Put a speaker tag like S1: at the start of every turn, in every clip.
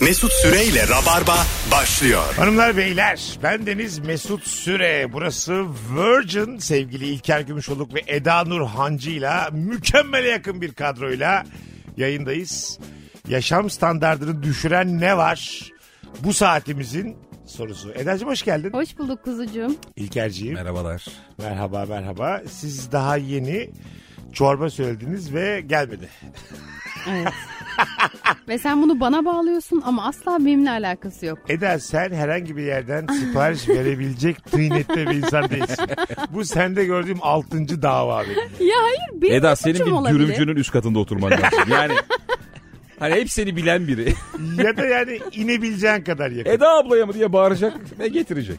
S1: Mesut Süreyle Rabarba başlıyor.
S2: Hanımlar beyler ben Deniz Mesut Süre. Burası Virgin sevgili İlker Gümüşoluk ve Eda Nur Hancı'yla mükemmele yakın bir kadroyla yayındayız. Yaşam standartını düşüren ne var? Bu saatimizin sorusu. Eda'cığım hoş geldin.
S3: Hoş bulduk kuzucuğum.
S2: İlkerciğim
S4: Merhabalar.
S2: merhaba merhaba. Siz daha yeni çorba söylediniz ve gelmedi.
S3: Evet. Ve sen bunu bana bağlıyorsun ama asla benimle alakası yok.
S2: Eda sen herhangi bir yerden sipariş verebilecek tıynette bir insan değilsin. Bu sende gördüğüm altıncı dava benim.
S3: Ya hayır benim
S4: Eda
S3: Eda,
S4: senin
S3: suçum
S4: bir
S3: olabilir.
S4: dürümcünün üst katında oturman lazım. Yani hani hep seni bilen biri.
S2: Ya da yani inebileceğin kadar yakın.
S4: Eda ablaya mı diye bağıracak ve getirecek.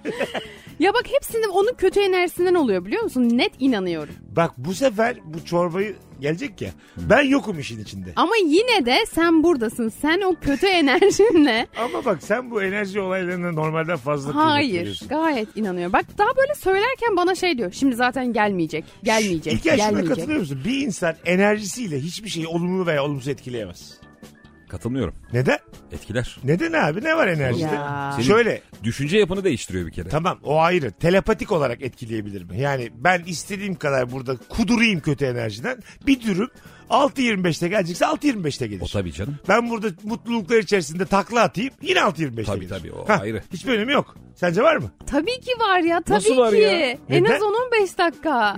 S3: Ya bak hepsinin onun kötü enerjisinden oluyor biliyor musun? Net inanıyorum.
S2: Bak bu sefer bu çorbayı gelecek ya. Ben yokum işin içinde.
S3: Ama yine de sen buradasın. Sen o kötü enerjinle.
S2: Ama bak sen bu enerji olaylarına normalden fazla kıymet
S3: Hayır
S2: veriyorsun.
S3: gayet inanıyorum. Bak daha böyle söylerken bana şey diyor. Şimdi zaten gelmeyecek. Gelmeyecek.
S2: İlker şuna
S3: gelmeyecek.
S2: katılıyor musun? Bir insan enerjisiyle hiçbir şeyi olumlu veya olumsuz etkileyemez.
S4: Katılmıyorum.
S2: Neden?
S4: Etkiler.
S2: Neden abi? Ne var enerjide?
S3: Ya.
S4: Senin-
S2: Şöyle
S4: Düşünce yapını değiştiriyor bir kere.
S2: tamam o ayrı. Telepatik olarak etkileyebilir mi? Yani ben istediğim kadar burada kudurayım kötü enerjiden. Bir dürüm 6.25'te gelecekse 6.25'te gelir.
S4: O tabii canım.
S2: Ben burada mutluluklar içerisinde takla atayım. Yine 6.25'te
S4: Tabii
S2: gelir.
S4: tabii, o
S2: Hah,
S4: ayrı.
S2: Hiçbir önemi yok. Sence var mı?
S3: Tabii ki var ya tabii
S4: Nasıl var
S3: ki.
S4: ya?
S3: En
S2: Neden?
S3: az 10-15 dakika.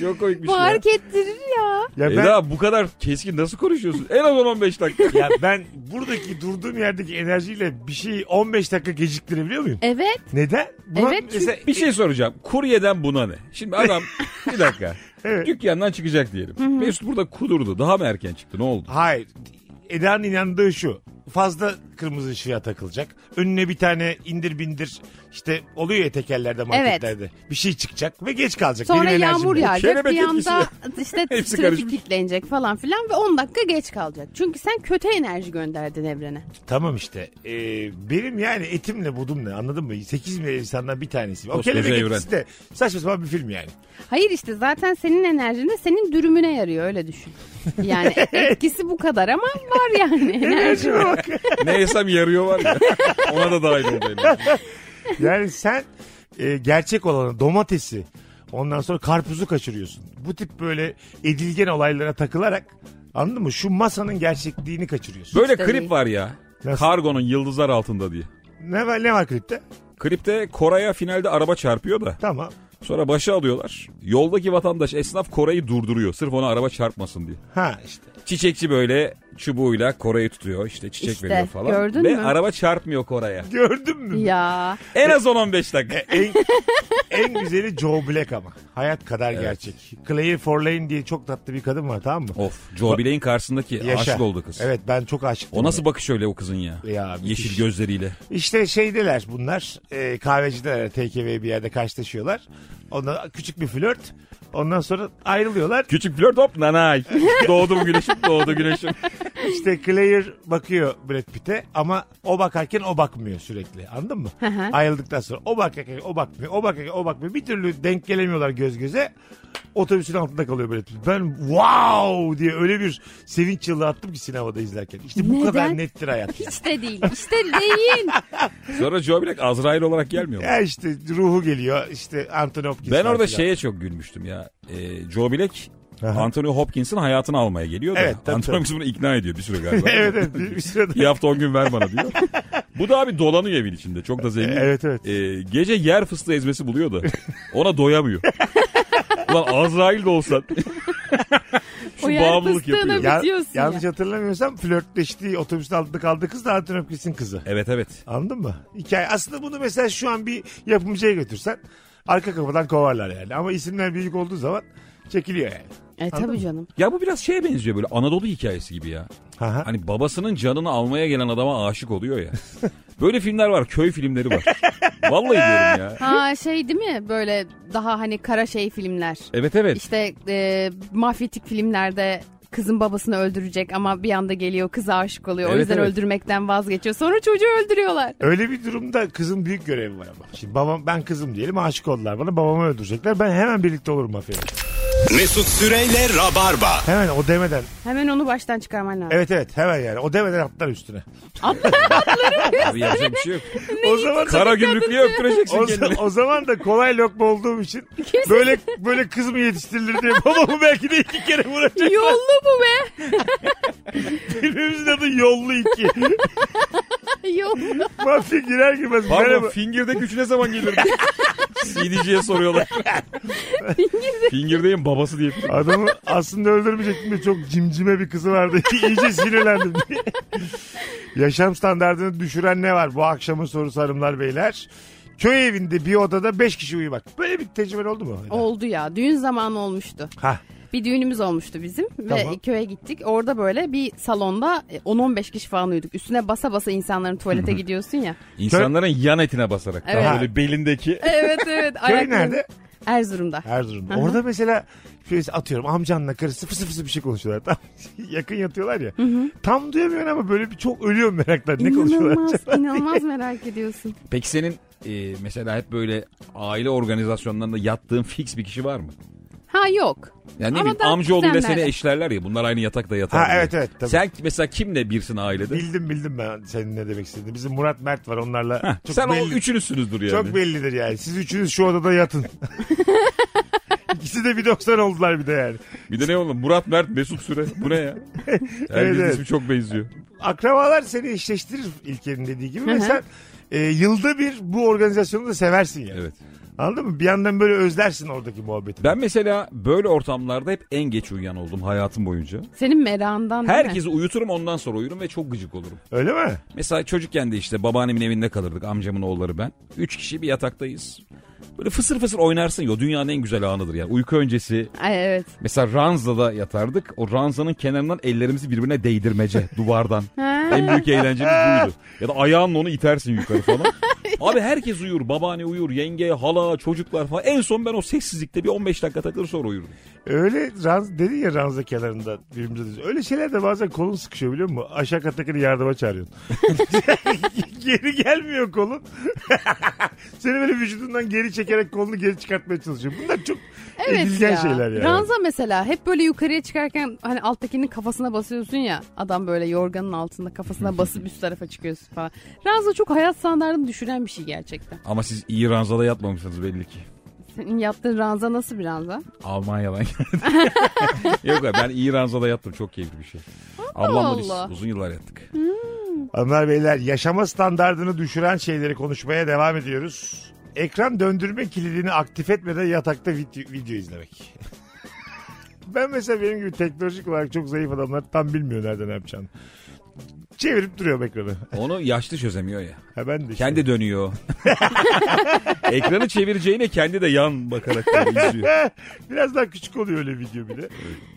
S4: Çok komik
S3: Fark ettirir ya.
S2: Ya ben,
S4: Eda bu kadar keskin nasıl konuşuyorsun? En az 15 dakika.
S2: ya ben buradaki durduğum yerdeki enerjiyle bir şeyi 15 dakika geciktirebiliyor muyum?
S3: Evet.
S2: Neden? Buna
S3: Evet, çünkü-
S2: mesela-
S4: bir şey soracağım. Kuryeden buna ne? Şimdi adam bir dakika.
S2: Evet.
S4: Dükkandan çıkacak diyelim. Mesut burada kudurdu. Daha mı erken çıktı? Ne oldu?
S2: Hayır. Eda'nın inandığı şu. Fazla kırmızı ışığa takılacak. Önüne bir tane indir bindir işte oluyor ya tekerlerde marketlerde. Bir şey çıkacak ve geç kalacak.
S3: Sonra
S2: Benim enerjim
S3: yağmur
S2: bu.
S3: yağacak
S4: Kelebek
S3: bir anda
S4: etkisi.
S3: işte
S4: Hepsi
S3: trafik
S4: karışmış.
S3: kilitlenecek falan filan ve 10 dakika geç kalacak. Çünkü sen kötü enerji gönderdin evrene.
S2: Tamam işte. Ee, benim yani etimle budumla anladın mı? 8 milyon insandan bir tanesiyim. O
S4: Koskoca
S2: kelebek
S4: evren.
S2: etkisi de saçma sapan bir film yani.
S3: Hayır işte zaten senin enerjin de senin dürümüne yarıyor öyle düşün. Yani etkisi bu kadar ama var yani enerji.
S4: ne yesem yarıyor var ya. Ona da dahil oldu. en azından.
S2: Yani sen e, gerçek olanı domatesi ondan sonra karpuzu kaçırıyorsun. Bu tip böyle edilgen olaylara takılarak anladın mı? Şu masanın gerçekliğini kaçırıyorsun.
S4: Böyle
S3: Hiç de değil.
S4: klip var ya.
S2: Nasıl?
S4: Kargonun yıldızlar altında diye.
S2: Ne var, ne var klipte?
S4: Klipte Koray'a finalde araba çarpıyor da
S2: Tamam.
S4: sonra başı alıyorlar. Yoldaki vatandaş esnaf Koray'ı durduruyor sırf ona araba çarpmasın diye.
S2: Ha işte.
S4: Çiçekçi böyle çubuğuyla Koray'ı tutuyor işte çiçek
S3: İşte,
S4: veriyor falan.
S3: gördün
S4: Ve
S3: mü?
S4: araba çarpmıyor Koray'a.
S2: Gördün mü?
S3: ya
S4: En az 10-15 dakika.
S2: En, en güzeli Joe Black ama. Hayat kadar gerçek. Claire Forlane diye çok tatlı bir kadın var tamam mı?
S4: of Joe Black'in karşısındaki aşık oldu kız.
S2: Evet ben çok aşıktım.
S4: O nasıl bakış öyle o kızın ya?
S2: Ya, müthiş.
S4: Yeşil gözleriyle.
S2: İşte şeydeler bunlar. E, kahvecideler TKV bir yerde karşılaşıyorlar. Ondan küçük bir flört. Ondan sonra ayrılıyorlar.
S4: Küçük flört hop nanay. doğdu mu güneşim doğdu güneşim.
S2: İşte Claire bakıyor Brad Pitt'e ama o bakarken o bakmıyor sürekli. Anladın mı?
S3: hı.
S2: Ayrıldıktan sonra o bakarken o bakmıyor, o bakarken o bakmıyor. Bir türlü denk gelemiyorlar göz göze. Otobüsün altında kalıyor Brad Pitt. Ben wow diye öyle bir sevinç çığlığı attım ki sinemada izlerken. İşte bu
S3: Neden?
S2: kadar nettir hayat.
S3: işte değil işte değil.
S4: Sonra Joe Black Azrail olarak gelmiyor mu?
S2: ya işte ruhu geliyor. işte Anthony Hopkins.
S4: Ben
S2: var
S4: orada şey-
S2: filan.
S4: şeye çok gülmüştüm ya. Ee, Joe Black
S2: Aha.
S4: Anthony Hopkins'in hayatını almaya geliyor da.
S2: Evet, tabii,
S4: Anthony
S2: tabii.
S4: Hopkins bunu ikna ediyor bir süre galiba.
S2: evet evet bir, bir sırada.
S4: Bir hafta on gün ver bana diyor. Bu da abi dolanıyor evin içinde. Çok da zengin.
S2: Evet, evet.
S4: Ee, gece yer fıstığı ezmesi buluyor da. Ona doyamıyor. Ulan Azrail de olsan. Şu
S3: O yer
S4: bağımlılık
S3: fıstığına
S4: yapıyor.
S2: Ya-
S3: bitiyorsun ya.
S2: yanlış hatırlamıyorsam flörtleştiği otobüsün altında kaldığı kız da Anthony Hopkins'in kızı.
S4: Evet evet.
S2: Anladın mı? Hikaye. Aslında bunu mesela şu an bir yapımcıya götürsen arka kapıdan kovarlar yani. Ama isimler büyük olduğu zaman çekiliyor yani.
S3: E
S2: Anladın mı?
S3: tabii canım.
S4: Ya bu biraz şeye benziyor böyle Anadolu hikayesi gibi ya.
S2: Ha
S4: Hani babasının canını almaya gelen adama aşık oluyor ya. Böyle filmler var. Köy filmleri var. Vallahi diyorum ya.
S3: Ha şey değil mi böyle daha hani kara şey filmler.
S4: Evet evet.
S3: İşte e, mafyatik filmlerde kızın babasını öldürecek ama bir anda geliyor kıza aşık oluyor. o
S4: Evet,
S3: yüzden
S4: evet.
S3: öldürmekten vazgeçiyor. Sonra çocuğu öldürüyorlar.
S2: Öyle bir durumda kızın büyük görevi var ama. Şimdi babam ben kızım diyelim aşık oldular bana babamı öldürecekler. Ben hemen birlikte olurum mafyayla.
S1: Mesut Süreyle Rabarba.
S2: Hemen o demeden.
S3: Hemen onu baştan çıkarman lazım.
S2: Evet evet hemen yani. O demeden atlar üstüne.
S4: Abi yapacak bir şey yok.
S2: o zaman da,
S4: Kara gümrüklüye öptüreceksin
S2: o,
S4: kendini.
S2: za- o zaman da kolay lokma olduğum için böyle böyle kız mı yetiştirilir diye babamı belki de iki kere vuracak.
S3: Yollu bu be.
S2: Filmimizin adı Yollu 2.
S3: Yollu.
S2: Mafya girer girmez.
S4: Pardon
S2: merhaba.
S4: fingirde güç ne zaman gelir? CD'ciye soruyorlar. Fingirdeyim babası diye. şey
S2: Adamı aslında öldürmeyecektim de çok cimcime bir kızı vardı. İyice sinirlendim diye. Yaşam standartını düşüren ne var? Bu akşamın sorusu hanımlar beyler. Köy evinde bir odada 5 kişi uyumak. Böyle bir tecrüben oldu mu?
S3: Oldu ya. Düğün zamanı olmuştu.
S2: Ha.
S3: Bir düğünümüz olmuştu bizim
S2: Tamam.
S3: ve köye gittik. Orada böyle bir salonda e, 10-15 kişi falan uyuduk. Üstüne basa basa insanların tuvalete gidiyorsun ya.
S4: İnsanların yan etine basarak.
S3: Evet.
S4: Daha böyle belindeki.
S3: Evet evet.
S2: Köy
S3: ayaklarını-
S2: nerede?
S3: Erzurum'da.
S2: Erzurum'da. Orada mesela şöyle atıyorum amcanla karısı fısı fısı bir şey konuşuyorlar. Tam yakın yatıyorlar ya. Tam duyamıyorsun ama böyle bir çok ölüyorum meraktan. Ne konuşuyorlar?
S3: İnanılmaz, inanılmaz merak ediyorsun.
S4: Peki senin e, mesela hep böyle aile organizasyonlarında yattığın fix bir kişi var mı?
S3: Ha yok.
S4: Yani
S3: Ama
S4: ne bileyim
S3: daha
S4: amcaoğlu ve seni
S3: kuzenlerle.
S4: eşlerler ya bunlar aynı yatakta yatar.
S2: Ha,
S4: diye.
S2: evet, evet, tabii.
S4: Sen mesela kimle birsin ailede?
S2: Bildim bildim ben senin ne demek istediğini. Bizim Murat Mert var onlarla.
S4: Heh,
S2: çok
S4: sen
S2: belli.
S4: o üçünüzsünüzdür yani.
S2: Çok bellidir yani. Siz üçünüz şu odada yatın. İkisi de bir 90 oldular bir de yani.
S4: Bir de ne oğlum Murat Mert Mesut Süre bu ne ya? Herkes
S2: Evet, evet.
S4: ismi çok benziyor.
S2: Akrabalar seni eşleştirir İlker'in dediği gibi.
S3: Hı
S2: Ve
S3: hı.
S2: sen e, yılda bir bu organizasyonu da seversin yani.
S4: Evet.
S2: Anladın mı? Bir yandan böyle özlersin oradaki muhabbeti.
S4: Ben mesela böyle ortamlarda hep en geç uyuyan oldum hayatım boyunca.
S3: Senin merakından değil mi?
S4: Herkesi uyuturum ondan sonra uyurum ve çok gıcık olurum.
S2: Öyle mi?
S4: Mesela çocukken de işte babaannemin evinde kalırdık amcamın oğulları ben. Üç kişi bir yataktayız. Böyle fısır fısır oynarsın ya o dünyanın en güzel anıdır yani. Uyku öncesi
S3: Ay, evet.
S4: mesela ranzada yatardık. O ranzanın kenarından ellerimizi birbirine değdirmece duvardan.
S3: Ha.
S4: En büyük eğlencemiz buydu. Ya da ayağınla onu itersin yukarı falan. Abi herkes uyur. Babaanne uyur, yenge, hala, çocuklar falan. En son ben o sessizlikte bir 15 dakika takılır sonra uyurdum.
S2: Öyle ranz, dedin ya ranza kenarında birbirimize diyoruz. Öyle şeyler de bazen kolun sıkışıyor biliyor musun? Aşağı kattakini yardıma çağırıyorsun. geri gelmiyor kolun. Seni böyle vücudundan geri çekerek kolunu geri çıkartmaya çalışıyor. Bunlar çok
S3: Evet
S2: edilgen
S3: ya.
S2: şeyler yani.
S3: Ranza mesela hep böyle yukarıya çıkarken hani alttakinin kafasına basıyorsun ya. Adam böyle yorganın altında kafasına basıp üst tarafa çıkıyorsun falan. Ranza çok hayat standartını düşüren bir şey gerçekten.
S4: Ama siz iyi ranzada yatmamışsınız belli ki.
S3: Senin yaptığın ranza nasıl bir ranza?
S4: Almanya'dan geldim. Yok abi, ben iyi ranzada yattım. Çok keyifli bir şey. Ablamla
S3: Allah.
S4: biz uzun yıllar yattık.
S2: Hanımlar beyler yaşama standartını düşüren şeyleri konuşmaya devam ediyoruz. Ekran döndürme kilidini aktif etmeden yatakta video, video izlemek. ben mesela benim gibi teknolojik olarak çok zayıf adamlar tam bilmiyor nereden yapacağını. Çevirip duruyorum ekranı.
S4: Onu yaşlı çözemiyor ya.
S2: Ha ben de işte.
S4: Kendi dönüyor. Ekranı çevireceğine kendi de yan bakarak böyle izliyor.
S2: Eh, Biraz daha küçük oluyor öyle video bir de.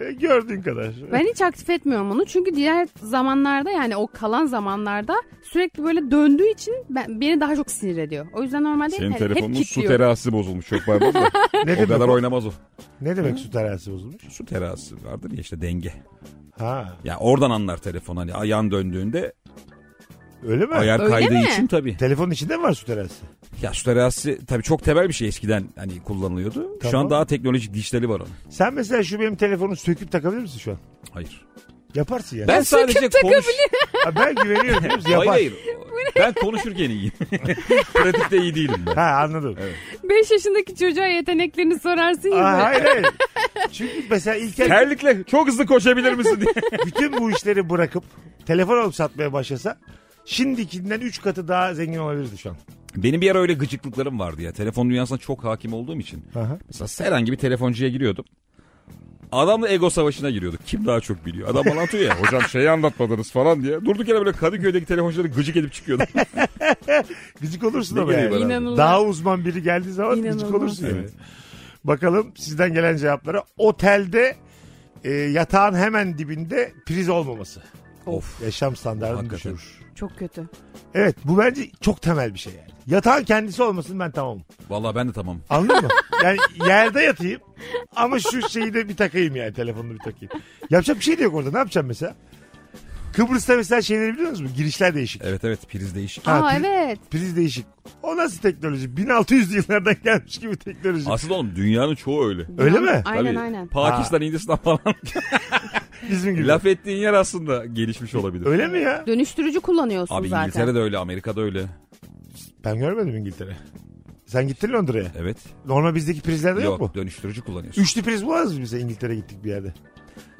S2: E, Gördüğün kadar.
S3: Ben hiç aktif etmiyorum onu çünkü diğer zamanlarda yani o kalan zamanlarda sürekli böyle döndüğü için ben, beni daha çok sinir ediyor. O yüzden normalde hep, hep kilitliyorum.
S4: terası bozulmuş. Çok pardon da.
S2: Ne
S4: o
S2: demek,
S4: kadar
S2: o-
S4: oynamaz o.
S2: ne demek su terası bozulmuş?
S4: Su terası vardır ya işte denge. Ya
S2: Ha
S4: oradan anlar telefon hani ayağın döndüğünde
S2: öyle mi?
S4: ayar
S3: Öyle
S4: kaydığı
S3: mi?
S4: için tabii.
S2: Telefonun içinde mi var su terası?
S4: Ya su terası tabii çok temel bir şey eskiden hani kullanılıyordu. Şu
S2: Tamam.
S4: an daha teknolojik dijitali var onun.
S2: Sen mesela şu benim telefonu söküp takabilir misin şu an?
S4: Hayır.
S2: Yaparsın yani.
S4: Ben sadece konuş...
S2: Ha, ben güveniyorum. biliyor musun?
S4: Hayır
S2: Yapar.
S4: hayır. Ben konuşurken iyiyim. Pratikte iyi değilim ben.
S2: Ha anladım.
S3: 5 yaşındaki çocuğa yeteneklerini sorarsın ya.
S2: Aa,
S3: böyle.
S2: hayır hayır. Çünkü mesela İlker
S4: Terlikle çok hızlı koşabilir misin diye.
S2: bütün bu işleri bırakıp telefon alıp satmaya başlasa şimdikinden 3 katı daha zengin olabilirdi şu an.
S4: Benim bir ara öyle gıcıklıklarım vardı ya. Telefon dünyasına çok hakim olduğum için.
S2: Aha.
S4: Mesela herhangi bir telefoncuya giriyordum. Adamla ego savaşına giriyorduk. Kim daha çok biliyor? Adam anlatıyor ya. Hocam şeyi anlatmadınız falan diye. Durduk yere böyle Kadıköy'deki telefoncuları gıcık edip çıkıyordum.
S2: Gıcık olursun
S4: Ne
S2: ama
S4: geliyor
S2: yani.
S4: bana?
S3: İnanılmaz.
S2: Daha uzman biri geldiği zaman gıcık
S3: İnanılmaz.
S2: olursun yani.
S4: Evet.
S2: Bakalım sizden gelen cevaplara. Otelde e, yatağın hemen dibinde priz olmaması.
S4: of.
S2: Yaşam standartını
S4: Hakikaten.
S2: düşürür.
S3: Çok kötü.
S2: Evet bu bence çok temel bir şey yani. Yatağın kendisi olmasın ben tamamım.
S4: Vallahi ben de tamam.
S2: Anladın mı? Yani yerde yatayım ama şu şeyi de bir takayım yani telefonunu bir takayım. Yapacak bir şey de yok orada ne yapacağım mesela? Kıbrıs'ta mesela şeyleri biliyor musunuz? Girişler değişik.
S4: Evet evet priz değişik.
S2: Ha,
S3: Aa
S2: pri-
S3: evet.
S2: Priz değişik. O nasıl teknoloji? 1600'lü yıllardan gelmiş gibi teknoloji.
S4: Aslında oğlum dünyanın çoğu öyle.
S2: Öyle mi?
S3: Aynen
S4: Tabii.
S3: aynen.
S4: Pakistan, Hindistan falan.
S2: Bizim gibi.
S4: Laf ettiğin yer aslında gelişmiş olabilir.
S2: Öyle mi ya?
S3: Dönüştürücü kullanıyorsun
S4: Abi
S3: zaten.
S4: İngiltere'de öyle, Amerika'da öyle.
S2: Ben görmedim İngiltere. Sen gittin Londra'ya.
S4: Evet.
S2: Normal bizdeki prizlerde yok,
S4: Yok,
S2: mu?
S4: dönüştürücü kullanıyorsun.
S2: Üçlü priz bulamaz mı bize İngiltere gittik bir yerde?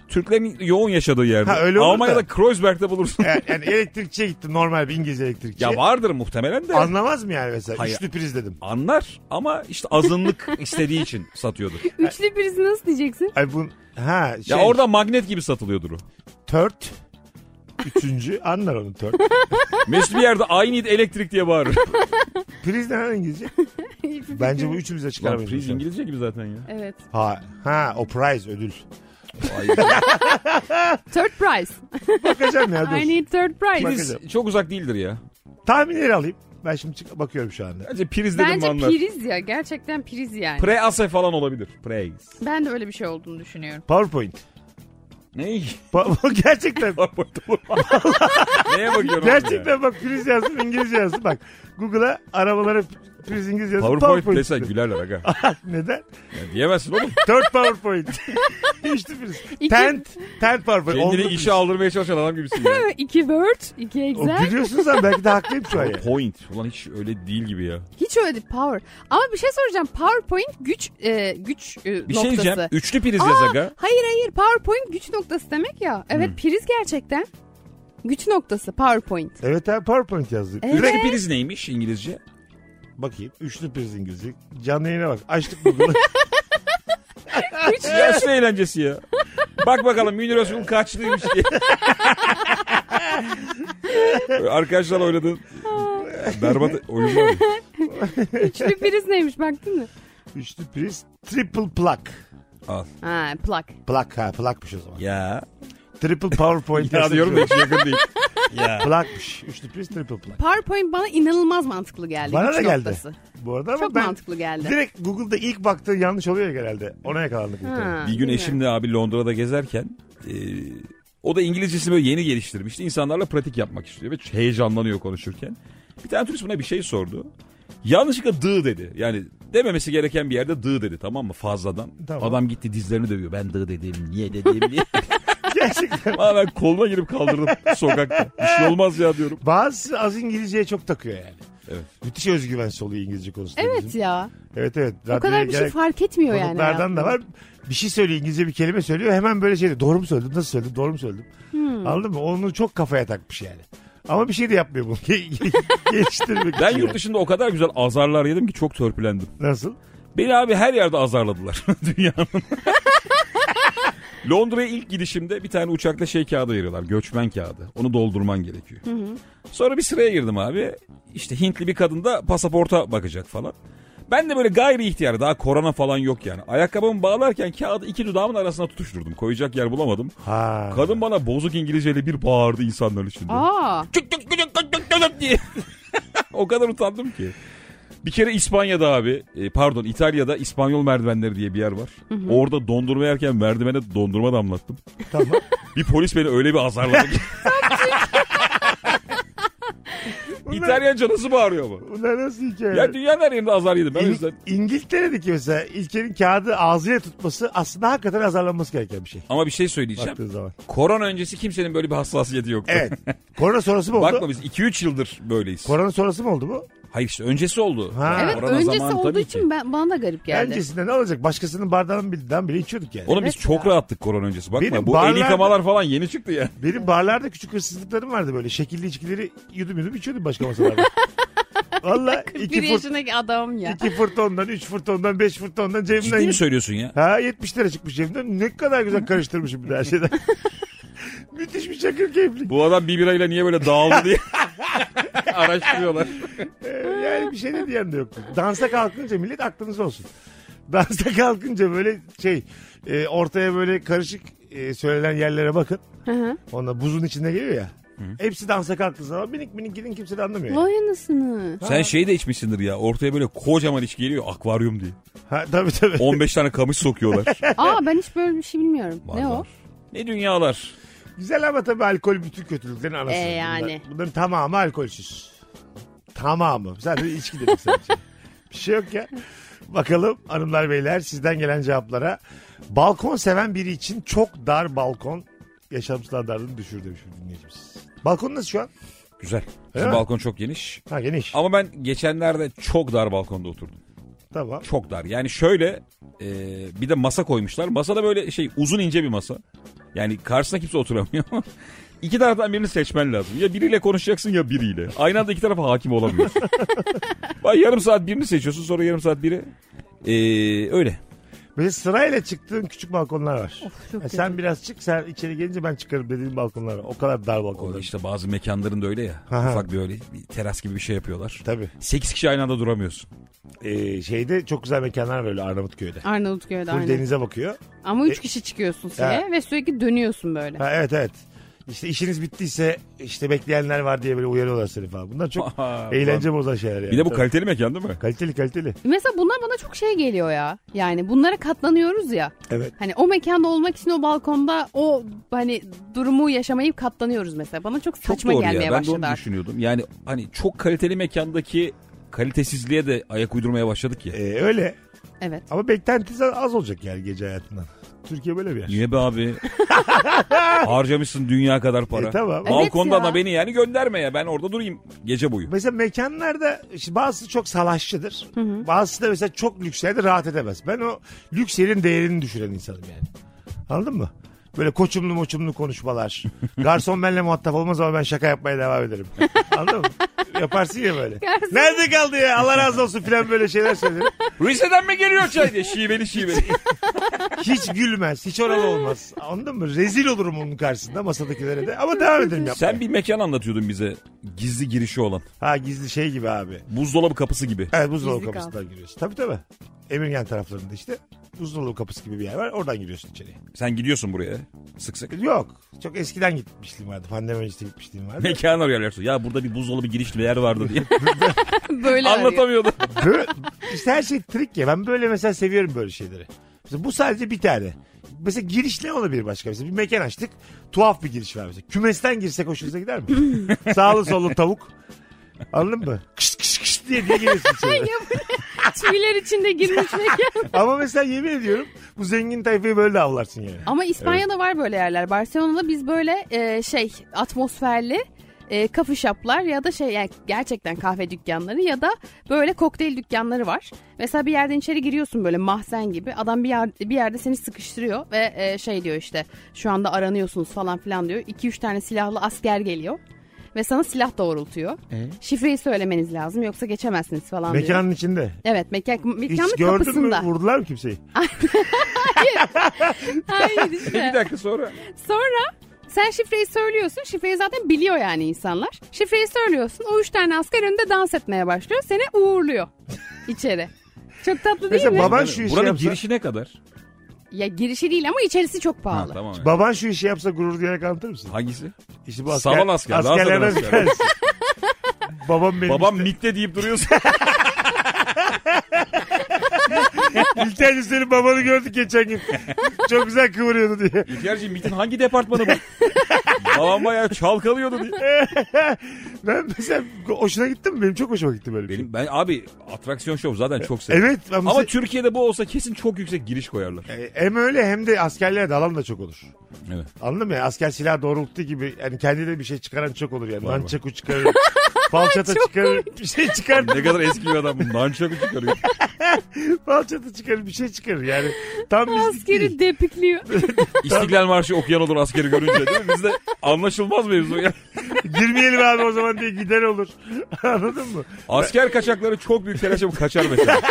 S4: Türklerin yoğun yaşadığı yerde.
S2: Ha, öyle olur
S4: Almanya'da
S2: da.
S4: Kreuzberg'de bulursun. E, şey-
S2: Yani, yani elektrikçiye gittim normal bir İngiliz elektrikçiye.
S4: ya vardır muhtemelen de.
S2: Anlamaz mı yani mesela?
S4: Hayır.
S2: Üçlü priz dedim.
S4: Anlar ama işte azınlık istediği için satıyordur.
S3: Üçlü prizi nasıl diyeceksin?
S2: Ay bu ha şey,
S4: Ya orada magnet gibi satılıyordur o.
S2: tört. Üçüncü anlar onu tört.
S4: Mesut bir yerde I need elektrik diye bağırır.
S2: priz ne lan İngilizce? Bence bu üçümüz de
S4: Lan
S2: çıkaramayız.
S4: priz İngilizce gibi zaten ya.
S3: Evet.
S2: Ha, ha o prize ödül.
S4: Hayır.
S3: Third prize.
S2: Bakacağım ya dur.
S3: I need third prize.
S2: Bakacağım.
S4: priz çok uzak değildir ya.
S2: Tahminleri alayım. Ben şimdi çık- bakıyorum şu anda.
S4: Bence priz dedim
S3: Bence
S4: anlar.
S3: priz ya. Gerçekten priz yani.
S4: Pre-ase falan olabilir. Praise.
S3: ben de öyle bir şey olduğunu düşünüyorum.
S2: PowerPoint.
S4: Ne?
S2: Pa- gerçekten.
S4: Neye bakıyorum? abi ya?
S2: gerçekten bak priz yazdım İngilizce yazdım. Bak Google'a arabalara priz İngilizce yazdım.
S4: PowerPoint dese
S2: dedim.
S4: gülerler aga.
S2: Neden?
S4: Ya diyemezsin oğlum.
S2: Dört PowerPoint. Üçlü priz.
S3: İki-
S2: Tent. Tent PowerPoint. Oldu
S4: Kendini
S2: priz.
S4: işe aldırmaya çalışan adam gibisin ya.
S3: İki word, iki
S2: O
S3: Excel.
S2: gülüyorsunuz ama belki de haklıyım şu an. ya.
S4: PowerPoint. Ulan hiç öyle değil gibi ya.
S3: Hiç öyle değil. Power. Ama bir şey soracağım. PowerPoint güç e, güç e,
S4: Bir
S3: noktası.
S4: şey diyeceğim. Üçlü priz
S3: Aa,
S4: yaz aga.
S3: Hayır hayır. PowerPoint güç noktası demek ya. Evet
S2: Hmm.
S3: priz gerçekten. Güç noktası PowerPoint.
S2: Evet abi PowerPoint yazdım.
S3: Evet.
S4: Üçlü priz neymiş İngilizce?
S2: Bakayım. Üçlü priz İngilizce. Canlı yayına bak. Açtık Google'ı.
S4: Yaşlı eğlencesi ya. Bak bakalım Münir Özkul'un kaçlıymış diye. Böyle Arkadaşlar oynadığın berbat oyunlar.
S3: Üçlü priz neymiş baktın mı?
S2: Üçlü priz. Triple plug.
S4: Al.
S3: Ha plak.
S2: Plug ha plugmış o zaman.
S4: Ya.
S2: Triple PowerPoint
S4: Ya
S2: yazdım.
S4: diyorum da hiç yakın değil. Ya.
S2: Plugmış. Üçlü priz triple plug.
S3: PowerPoint bana inanılmaz mantıklı geldi.
S2: Bana
S3: güç
S2: da geldi.
S3: Noktası.
S2: Bu arada ama
S3: Çok
S2: ben
S3: mantıklı geldi.
S2: direkt Google'da ilk baktığın yanlış oluyor ya genelde. Ona yakalandık.
S3: Ha,
S2: muhtemelen.
S4: Bir gün
S3: bilmiyorum.
S4: eşimle abi Londra'da gezerken e, o da İngilizcesi böyle yeni geliştirmişti. İnsanlarla pratik yapmak istiyor ve heyecanlanıyor konuşurken. Bir tane turist buna bir şey sordu. Yanlışlıkla dı dedi. Yani dememesi gereken bir yerde dı dedi tamam mı fazladan.
S2: Tamam.
S4: Adam gitti dizlerini dövüyor. Ben dı dedim niye dedim diye.
S2: Gerçekten.
S4: Ama ben koluna girip kaldırdım sokakta. Bir şey olmaz ya diyorum.
S2: Bazısı az İngilizceye çok takıyor yani.
S4: Evet.
S2: Müthiş özgüvensiz oluyor İngilizce konusunda.
S3: Evet
S2: bizim.
S3: ya.
S2: Evet evet.
S3: O kadar bir şey fark etmiyor yani.
S2: Konuklardan da
S3: hayatımda.
S2: var. Bir şey söylüyor İngilizce bir kelime söylüyor. Hemen böyle şey diyor. Doğru mu söyledim? Nasıl söyledim? Doğru mu söyledim? Anladın mı? Onu çok kafaya takmış yani. Ama bir şey de yapmıyor bunu. Ge- ge- Geliştirmek
S4: Ben
S2: için
S4: yurt dışında o kadar güzel azarlar yedim ki çok törpülendim.
S2: yani. Nasıl?
S4: Beni abi her yerde azarladılar dünyanın. Londra'ya ilk gidişimde bir tane uçakta şey kağıdı veriyorlar. Göçmen kağıdı. Onu doldurman gerekiyor. Sonra bir sıraya girdim abi. İşte Hintli bir kadın da pasaporta bakacak falan. Ben de böyle gayri ihtiyar daha korona falan yok yani. Ayakkabımı bağlarken kağıdı iki dudağımın arasına tutuşturdum. Koyacak yer bulamadım.
S2: Ha.
S4: Kadın bana bozuk İngilizceyle bir bağırdı insanların içinde.
S3: Aa,
S4: Çık çık çık çık çık çık çık diye. o kadar utandım ki. Bir kere İspanya'da abi, e, pardon İtalya'da İspanyol merdivenleri diye bir yer var. Orada dondurma yerken merdivene dondurma damlattım.
S2: Tamam.
S4: Bir polis beni öyle bir azarladı ki. İtalyanca nasıl bağırıyor ama?
S2: Bunlar nasıl hikaye?
S4: Ya dünyanın her yerinde azar yedim. Ben o
S2: İng-
S4: yüzden...
S2: İngiltere'deki mesela İlker'in kağıdı ağzıyla tutması aslında hakikaten azarlanması gereken bir şey.
S4: Ama bir şey söyleyeceğim.
S2: Baktığın zaman.
S4: Korona öncesi kimsenin böyle bir hassasiyeti yoktu.
S2: Evet. Korona sonrası mı oldu?
S4: Bakma biz 2-3 yıldır böyleyiz.
S2: Korona sonrası mı oldu bu?
S4: Hayır işte öncesi oldu.
S2: Ha.
S3: evet
S4: Korona
S3: öncesi
S4: zamanı
S3: olduğu
S4: tabii ki.
S3: için ben, bana da garip geldi.
S2: Öncesinde ne olacak? Başkasının bardağından bile, bile içiyorduk yani.
S4: Oğlum biz
S3: Evet
S4: çok
S3: ya.
S4: rahattık korona öncesi. Bakma
S2: Benim
S4: bu
S2: barlarda-
S4: el yıkamalar falan yeni çıktı ya.
S2: Benim barlarda küçük hırsızlıklarım vardı böyle. Şekilli içkileri yudum yudum içiyordum başka masalarda. Valla iki,
S3: Bir
S2: furt,
S3: yaşındaki adam ya.
S2: iki furtondan, üç furtondan, beş furtondan cebimden.
S4: Ciddi mi söylüyorsun ya?
S2: Ha 70 lira çıkmış cebimden. Ne kadar güzel karıştırmışım bir de her şeyden. Müthiş bir çakır keyiflik.
S4: Bu adam bir birayla niye böyle dağıldı diye araştırıyorlar.
S2: Ee, yani bir şey de diyen de yoktu. Dansa kalkınca millet aklınız olsun. Dansa kalkınca böyle şey e, ortaya böyle karışık e, söylenen yerlere bakın.
S3: Hı hı.
S2: Onda buzun içinde geliyor ya. Hepsi dansa kalktığı zaman minik minik gidin kimse de anlamıyor. yani.
S3: Vay anasını.
S4: Sen şey de içmişsindir ya ortaya böyle kocaman iş geliyor akvaryum diye.
S2: Ha, tabii tabii.
S4: 15 tane kamış sokuyorlar.
S3: Aa ben hiç böyle bir şey bilmiyorum. Ne o?
S4: Vallahi. Ne dünyalar.
S2: Güzel ama tabii alkol bütün kötülüklerin anası.
S3: E, yani.
S2: Bunlar- bunların tamamı alkolsüz. Tamamı. Zaten içki dedik sadece. Bir şey yok ya. Bakalım hanımlar beyler sizden gelen cevaplara. Balkon seven biri için çok dar balkon yaşam standartını düşür demiş bir dinleyicimiz. Balkon nasıl şu an?
S4: Güzel.
S2: Öyle
S4: Bizim
S2: mi?
S4: balkon çok geniş.
S2: Ha geniş.
S4: Ama ben geçenlerde çok dar balkonda oturdum.
S2: Tamam.
S4: Çok dar. Yani şöyle e, bir de masa koymuşlar. Masada böyle şey uzun ince bir masa. Yani karşısına kimse oturamıyor. İki taraftan birini seçmen lazım. Ya biriyle konuşacaksın ya biriyle. Aynı anda iki tarafa hakim olamıyorsun. Bak yarım saat birini seçiyorsun sonra yarım saat biri. E, öyle.
S2: Böyle sırayla çıktığın küçük balkonlar var.
S3: çok
S2: Ha, sen biraz çık sen içeri gelince ben çıkarım dediğin balkonlar var. O kadar dar
S4: O
S2: balkonlar.
S4: işte bazı mekanların da öyle ya.
S2: Aha.
S4: Ufak bir öyle bir teras gibi bir şey yapıyorlar.
S2: Tabii.
S4: 8 kişi aynı anda duramıyorsun.
S2: Ee, şeyde çok güzel mekanlar var öyle Arnavutköy'de.
S3: Arnavutköy'de
S2: Full
S3: aynı.
S2: denize bakıyor.
S3: Ama üç kişi çıkıyorsun suya ve sürekli dönüyorsun böyle.
S2: Ha, evet evet. İşte işiniz bittiyse işte bekleyenler var diye böyle uyarıyorlar seni falan. Bunlar çok
S4: Aha,
S2: eğlence bozan şeyler yani.
S4: Bir de bu
S2: Tabii.
S4: kaliteli mekan değil mi?
S2: kaliteli kaliteli.
S3: Mesela bunlar bana çok şey geliyor ya. Yani bunlara katlanıyoruz ya.
S2: Evet.
S3: Hani o mekanda olmak için o balkonda o hani durumu yaşamayıp katlanıyoruz mesela. Bana çok
S4: Çok
S3: saçma
S4: doğru
S3: gelmeye
S4: ya. Ben de
S3: başladı
S4: onu
S3: artık.
S4: düşünüyordum. Yani hani çok kaliteli mekandaki kalitesizliğe de ayak uydurmaya başladık ya.
S2: Ee, öyle
S3: Evet.
S2: ama beklentiniz az olacak yani gece hayatından. Türkiye böyle bir yer.
S4: Niye be abi? Harcamışsın dünya kadar para.
S2: E, tamam.
S3: Evet
S4: Balkonda
S3: ya.
S4: da beni yani gönderme ya. Ben orada durayım gece boyu.
S2: Mesela mekanlarda işte bazısı çok salaşçıdır. Bazısı da mesela çok lüks yerde rahat edemez. Ben o lüks yerin değerini düşüren insanım yani. Anladın mı? Böyle koçumlu moçumlu konuşmalar. Garson benimle muhatap olmaz ama ben şaka yapmaya devam ederim. Anladın mı? Yaparsın ya böyle.
S3: Garson.
S2: Nerede kaldı ya? Allah razı olsun falan böyle şeyler söylerim.
S4: Rize'den mi geliyor çay diye? Şiveli şiveli.
S2: Hiç gülmez. Hiç oralı olmaz. Anladın mı? Rezil olurum onun karşısında masadakilere de. Ama devam ederim yapmaya.
S4: Sen bir mekan anlatıyordun bize. Gizli girişi olan.
S2: Ha gizli şey gibi abi.
S4: Buzdolabı kapısı gibi.
S2: Evet buzdolabı
S3: Gizli kal.
S2: kapısından giriyorsun. Tabii tabii. Emirgan taraflarında işte buzdolabı kapısı gibi bir yer var. Oradan giriyorsun içeriye. E,
S4: Sen gidiyorsun buraya sık sık.
S2: Yok. Çok eskiden gitmişliğim vardı. Pandemi öncesi gitmişliğim vardı.
S4: Mekanı arıyorlar. Ya burada bir buzdolabı girişli bir yer vardı diye.
S3: Böyle arıyor.
S4: Anlatamıyordu.
S2: böyle, işte her şey trik ya. Ben böyle mesela seviyorum böyle şeyleri. Mesela bu sadece bir tane. Mesela giriş ne olabilir başka? Mesela bir mekan açtık. Tuhaf bir giriş var mesela. Kümesten girsek hoşunuza gider mi? Sağlı sollu tavuk. Anladın mı? Kış kış kış diye diye giriyorsun içeri.
S3: Tüyler içinde girmiş mekan.
S2: Ama mesela yemin ediyorum bu zengin tayfayı böyle de avlarsın yani.
S3: Ama İspanya'da var böyle yerler. Barcelona'da biz böyle e, şey atmosferli e, kafe shop'lar ya da şey yani gerçekten kahve dükkanları ya da böyle kokteyl dükkanları var. Mesela bir yerden içeri giriyorsun böyle mahzen gibi. Adam bir yer, bir yerde seni sıkıştırıyor ve e, şey diyor işte şu anda aranıyorsunuz falan filan diyor. 2-3 tane silahlı asker geliyor ve sana silah doğrultuyor. Şifreyi söylemeniz lazım yoksa geçemezsiniz falan diyor.
S2: Mekanın içinde.
S3: Evet mekan, mekanın
S2: Hiç gördün mü
S3: kapısında.
S2: vurdular mı kimseyi?
S3: Hayır işte.
S4: bir dakika sonra.
S3: Sonra sen şifreyi söylüyorsun. Şifreyi zaten biliyor yani insanlar. Şifreyi söylüyorsun. O üç tane asker önünde dans etmeye başlıyor. Seni uğurluyor içeri. Çok tatlı değil
S2: Mesela
S3: mi?
S2: baban şu işi
S4: Buranın
S2: yapsa,
S4: girişi ne kadar?
S3: Ya girişi değil ama içerisi çok
S4: Ha,
S3: pahalı.
S4: tamam. evet.
S2: baban şu işi yapsa gurur diyerek anlatır mısın?
S4: Hangisi?
S2: İşte bu
S4: Saman asker, daha
S2: askerlerden
S4: saman asker.
S2: bir tanesi. Babam benim
S4: Babam
S2: işte.
S4: Mik'te deyip duruyorsun.
S2: İlterci senin babanı gördük geçen gün. Çok güzel kıvırıyordu diye.
S4: İhtiyarcığım MİT'in hangi departmanı bu? Babam bayağı çalkalıyordu diye.
S2: Ben mesela hoşuna gitti mi? Benim çok hoşuma gitti böyle. bir şey.
S4: Benim, ben abi atraksiyon şov zaten çok seviyorum.
S2: Evet. Ama,
S4: Ama
S2: mesela-
S4: Türkiye'de bu olsa kesin çok yüksek giriş koyarlar.
S2: E, hem öyle hem de askerlere dalan da çok olur.
S4: Evet.
S2: Anladın mı? Asker silah doğrulttu gibi yani kendine bir şey çıkaran çok olur yani.
S4: Var, var.
S2: Mançaku çıkarır. Falçata çıkarır. Bir şey çıkar.
S4: Ne kadar eski bir adam bu. Nançakı çıkarıyor.
S2: Falçata çıkarır. Bir şey çıkarır. Yani tam bizlik değil.
S3: Askeri depikliyor.
S4: İstiklal Marşı okuyan olur askeri görünce değil mi? Bizde anlaşılmaz mevzu ya.
S2: Girmeyelim abi o zaman diye gider olur. Anladın mı?
S4: Asker kaçakları çok büyük telaşa bu kaçar mesela.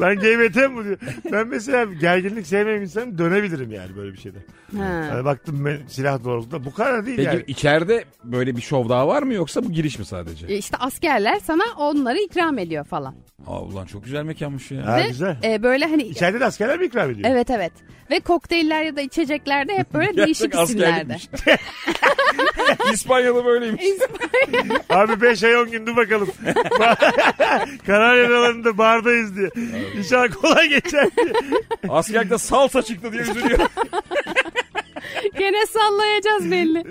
S2: Lan GBT mi bu diyor. Ben mesela gerginlik sevmeyen insanım dönebilirim yani böyle bir şeyde.
S3: Ha.
S2: Hani baktım ben silah doğrultuda bu kadar değil
S4: Peki
S2: yani.
S4: içeride böyle bir şov daha var mı yoksa bu giriş mi sadece?
S3: E, İşte askerler sana onları ikram ediyor falan.
S4: Aa ulan çok güzel mekanmış ya.
S2: Ha,
S3: Ve,
S2: güzel.
S3: e, böyle hani
S2: İçeride de askerler mi ikram ediyor?
S3: Evet evet. Ve kokteyller ya da içeceklerde hep böyle değişik
S4: Gerçek
S3: isimlerde.
S2: şey.
S4: askerlikmiş. İspanya'da böyleymiş.
S2: Abi 5 ay 10 gündü bakalım. Karar Adaları'nda bardayız diye. İnşallah kolay geçer diye.
S4: Askerlikte salsa çıktı diye üzülüyor.
S3: Gene sallayacağız belli.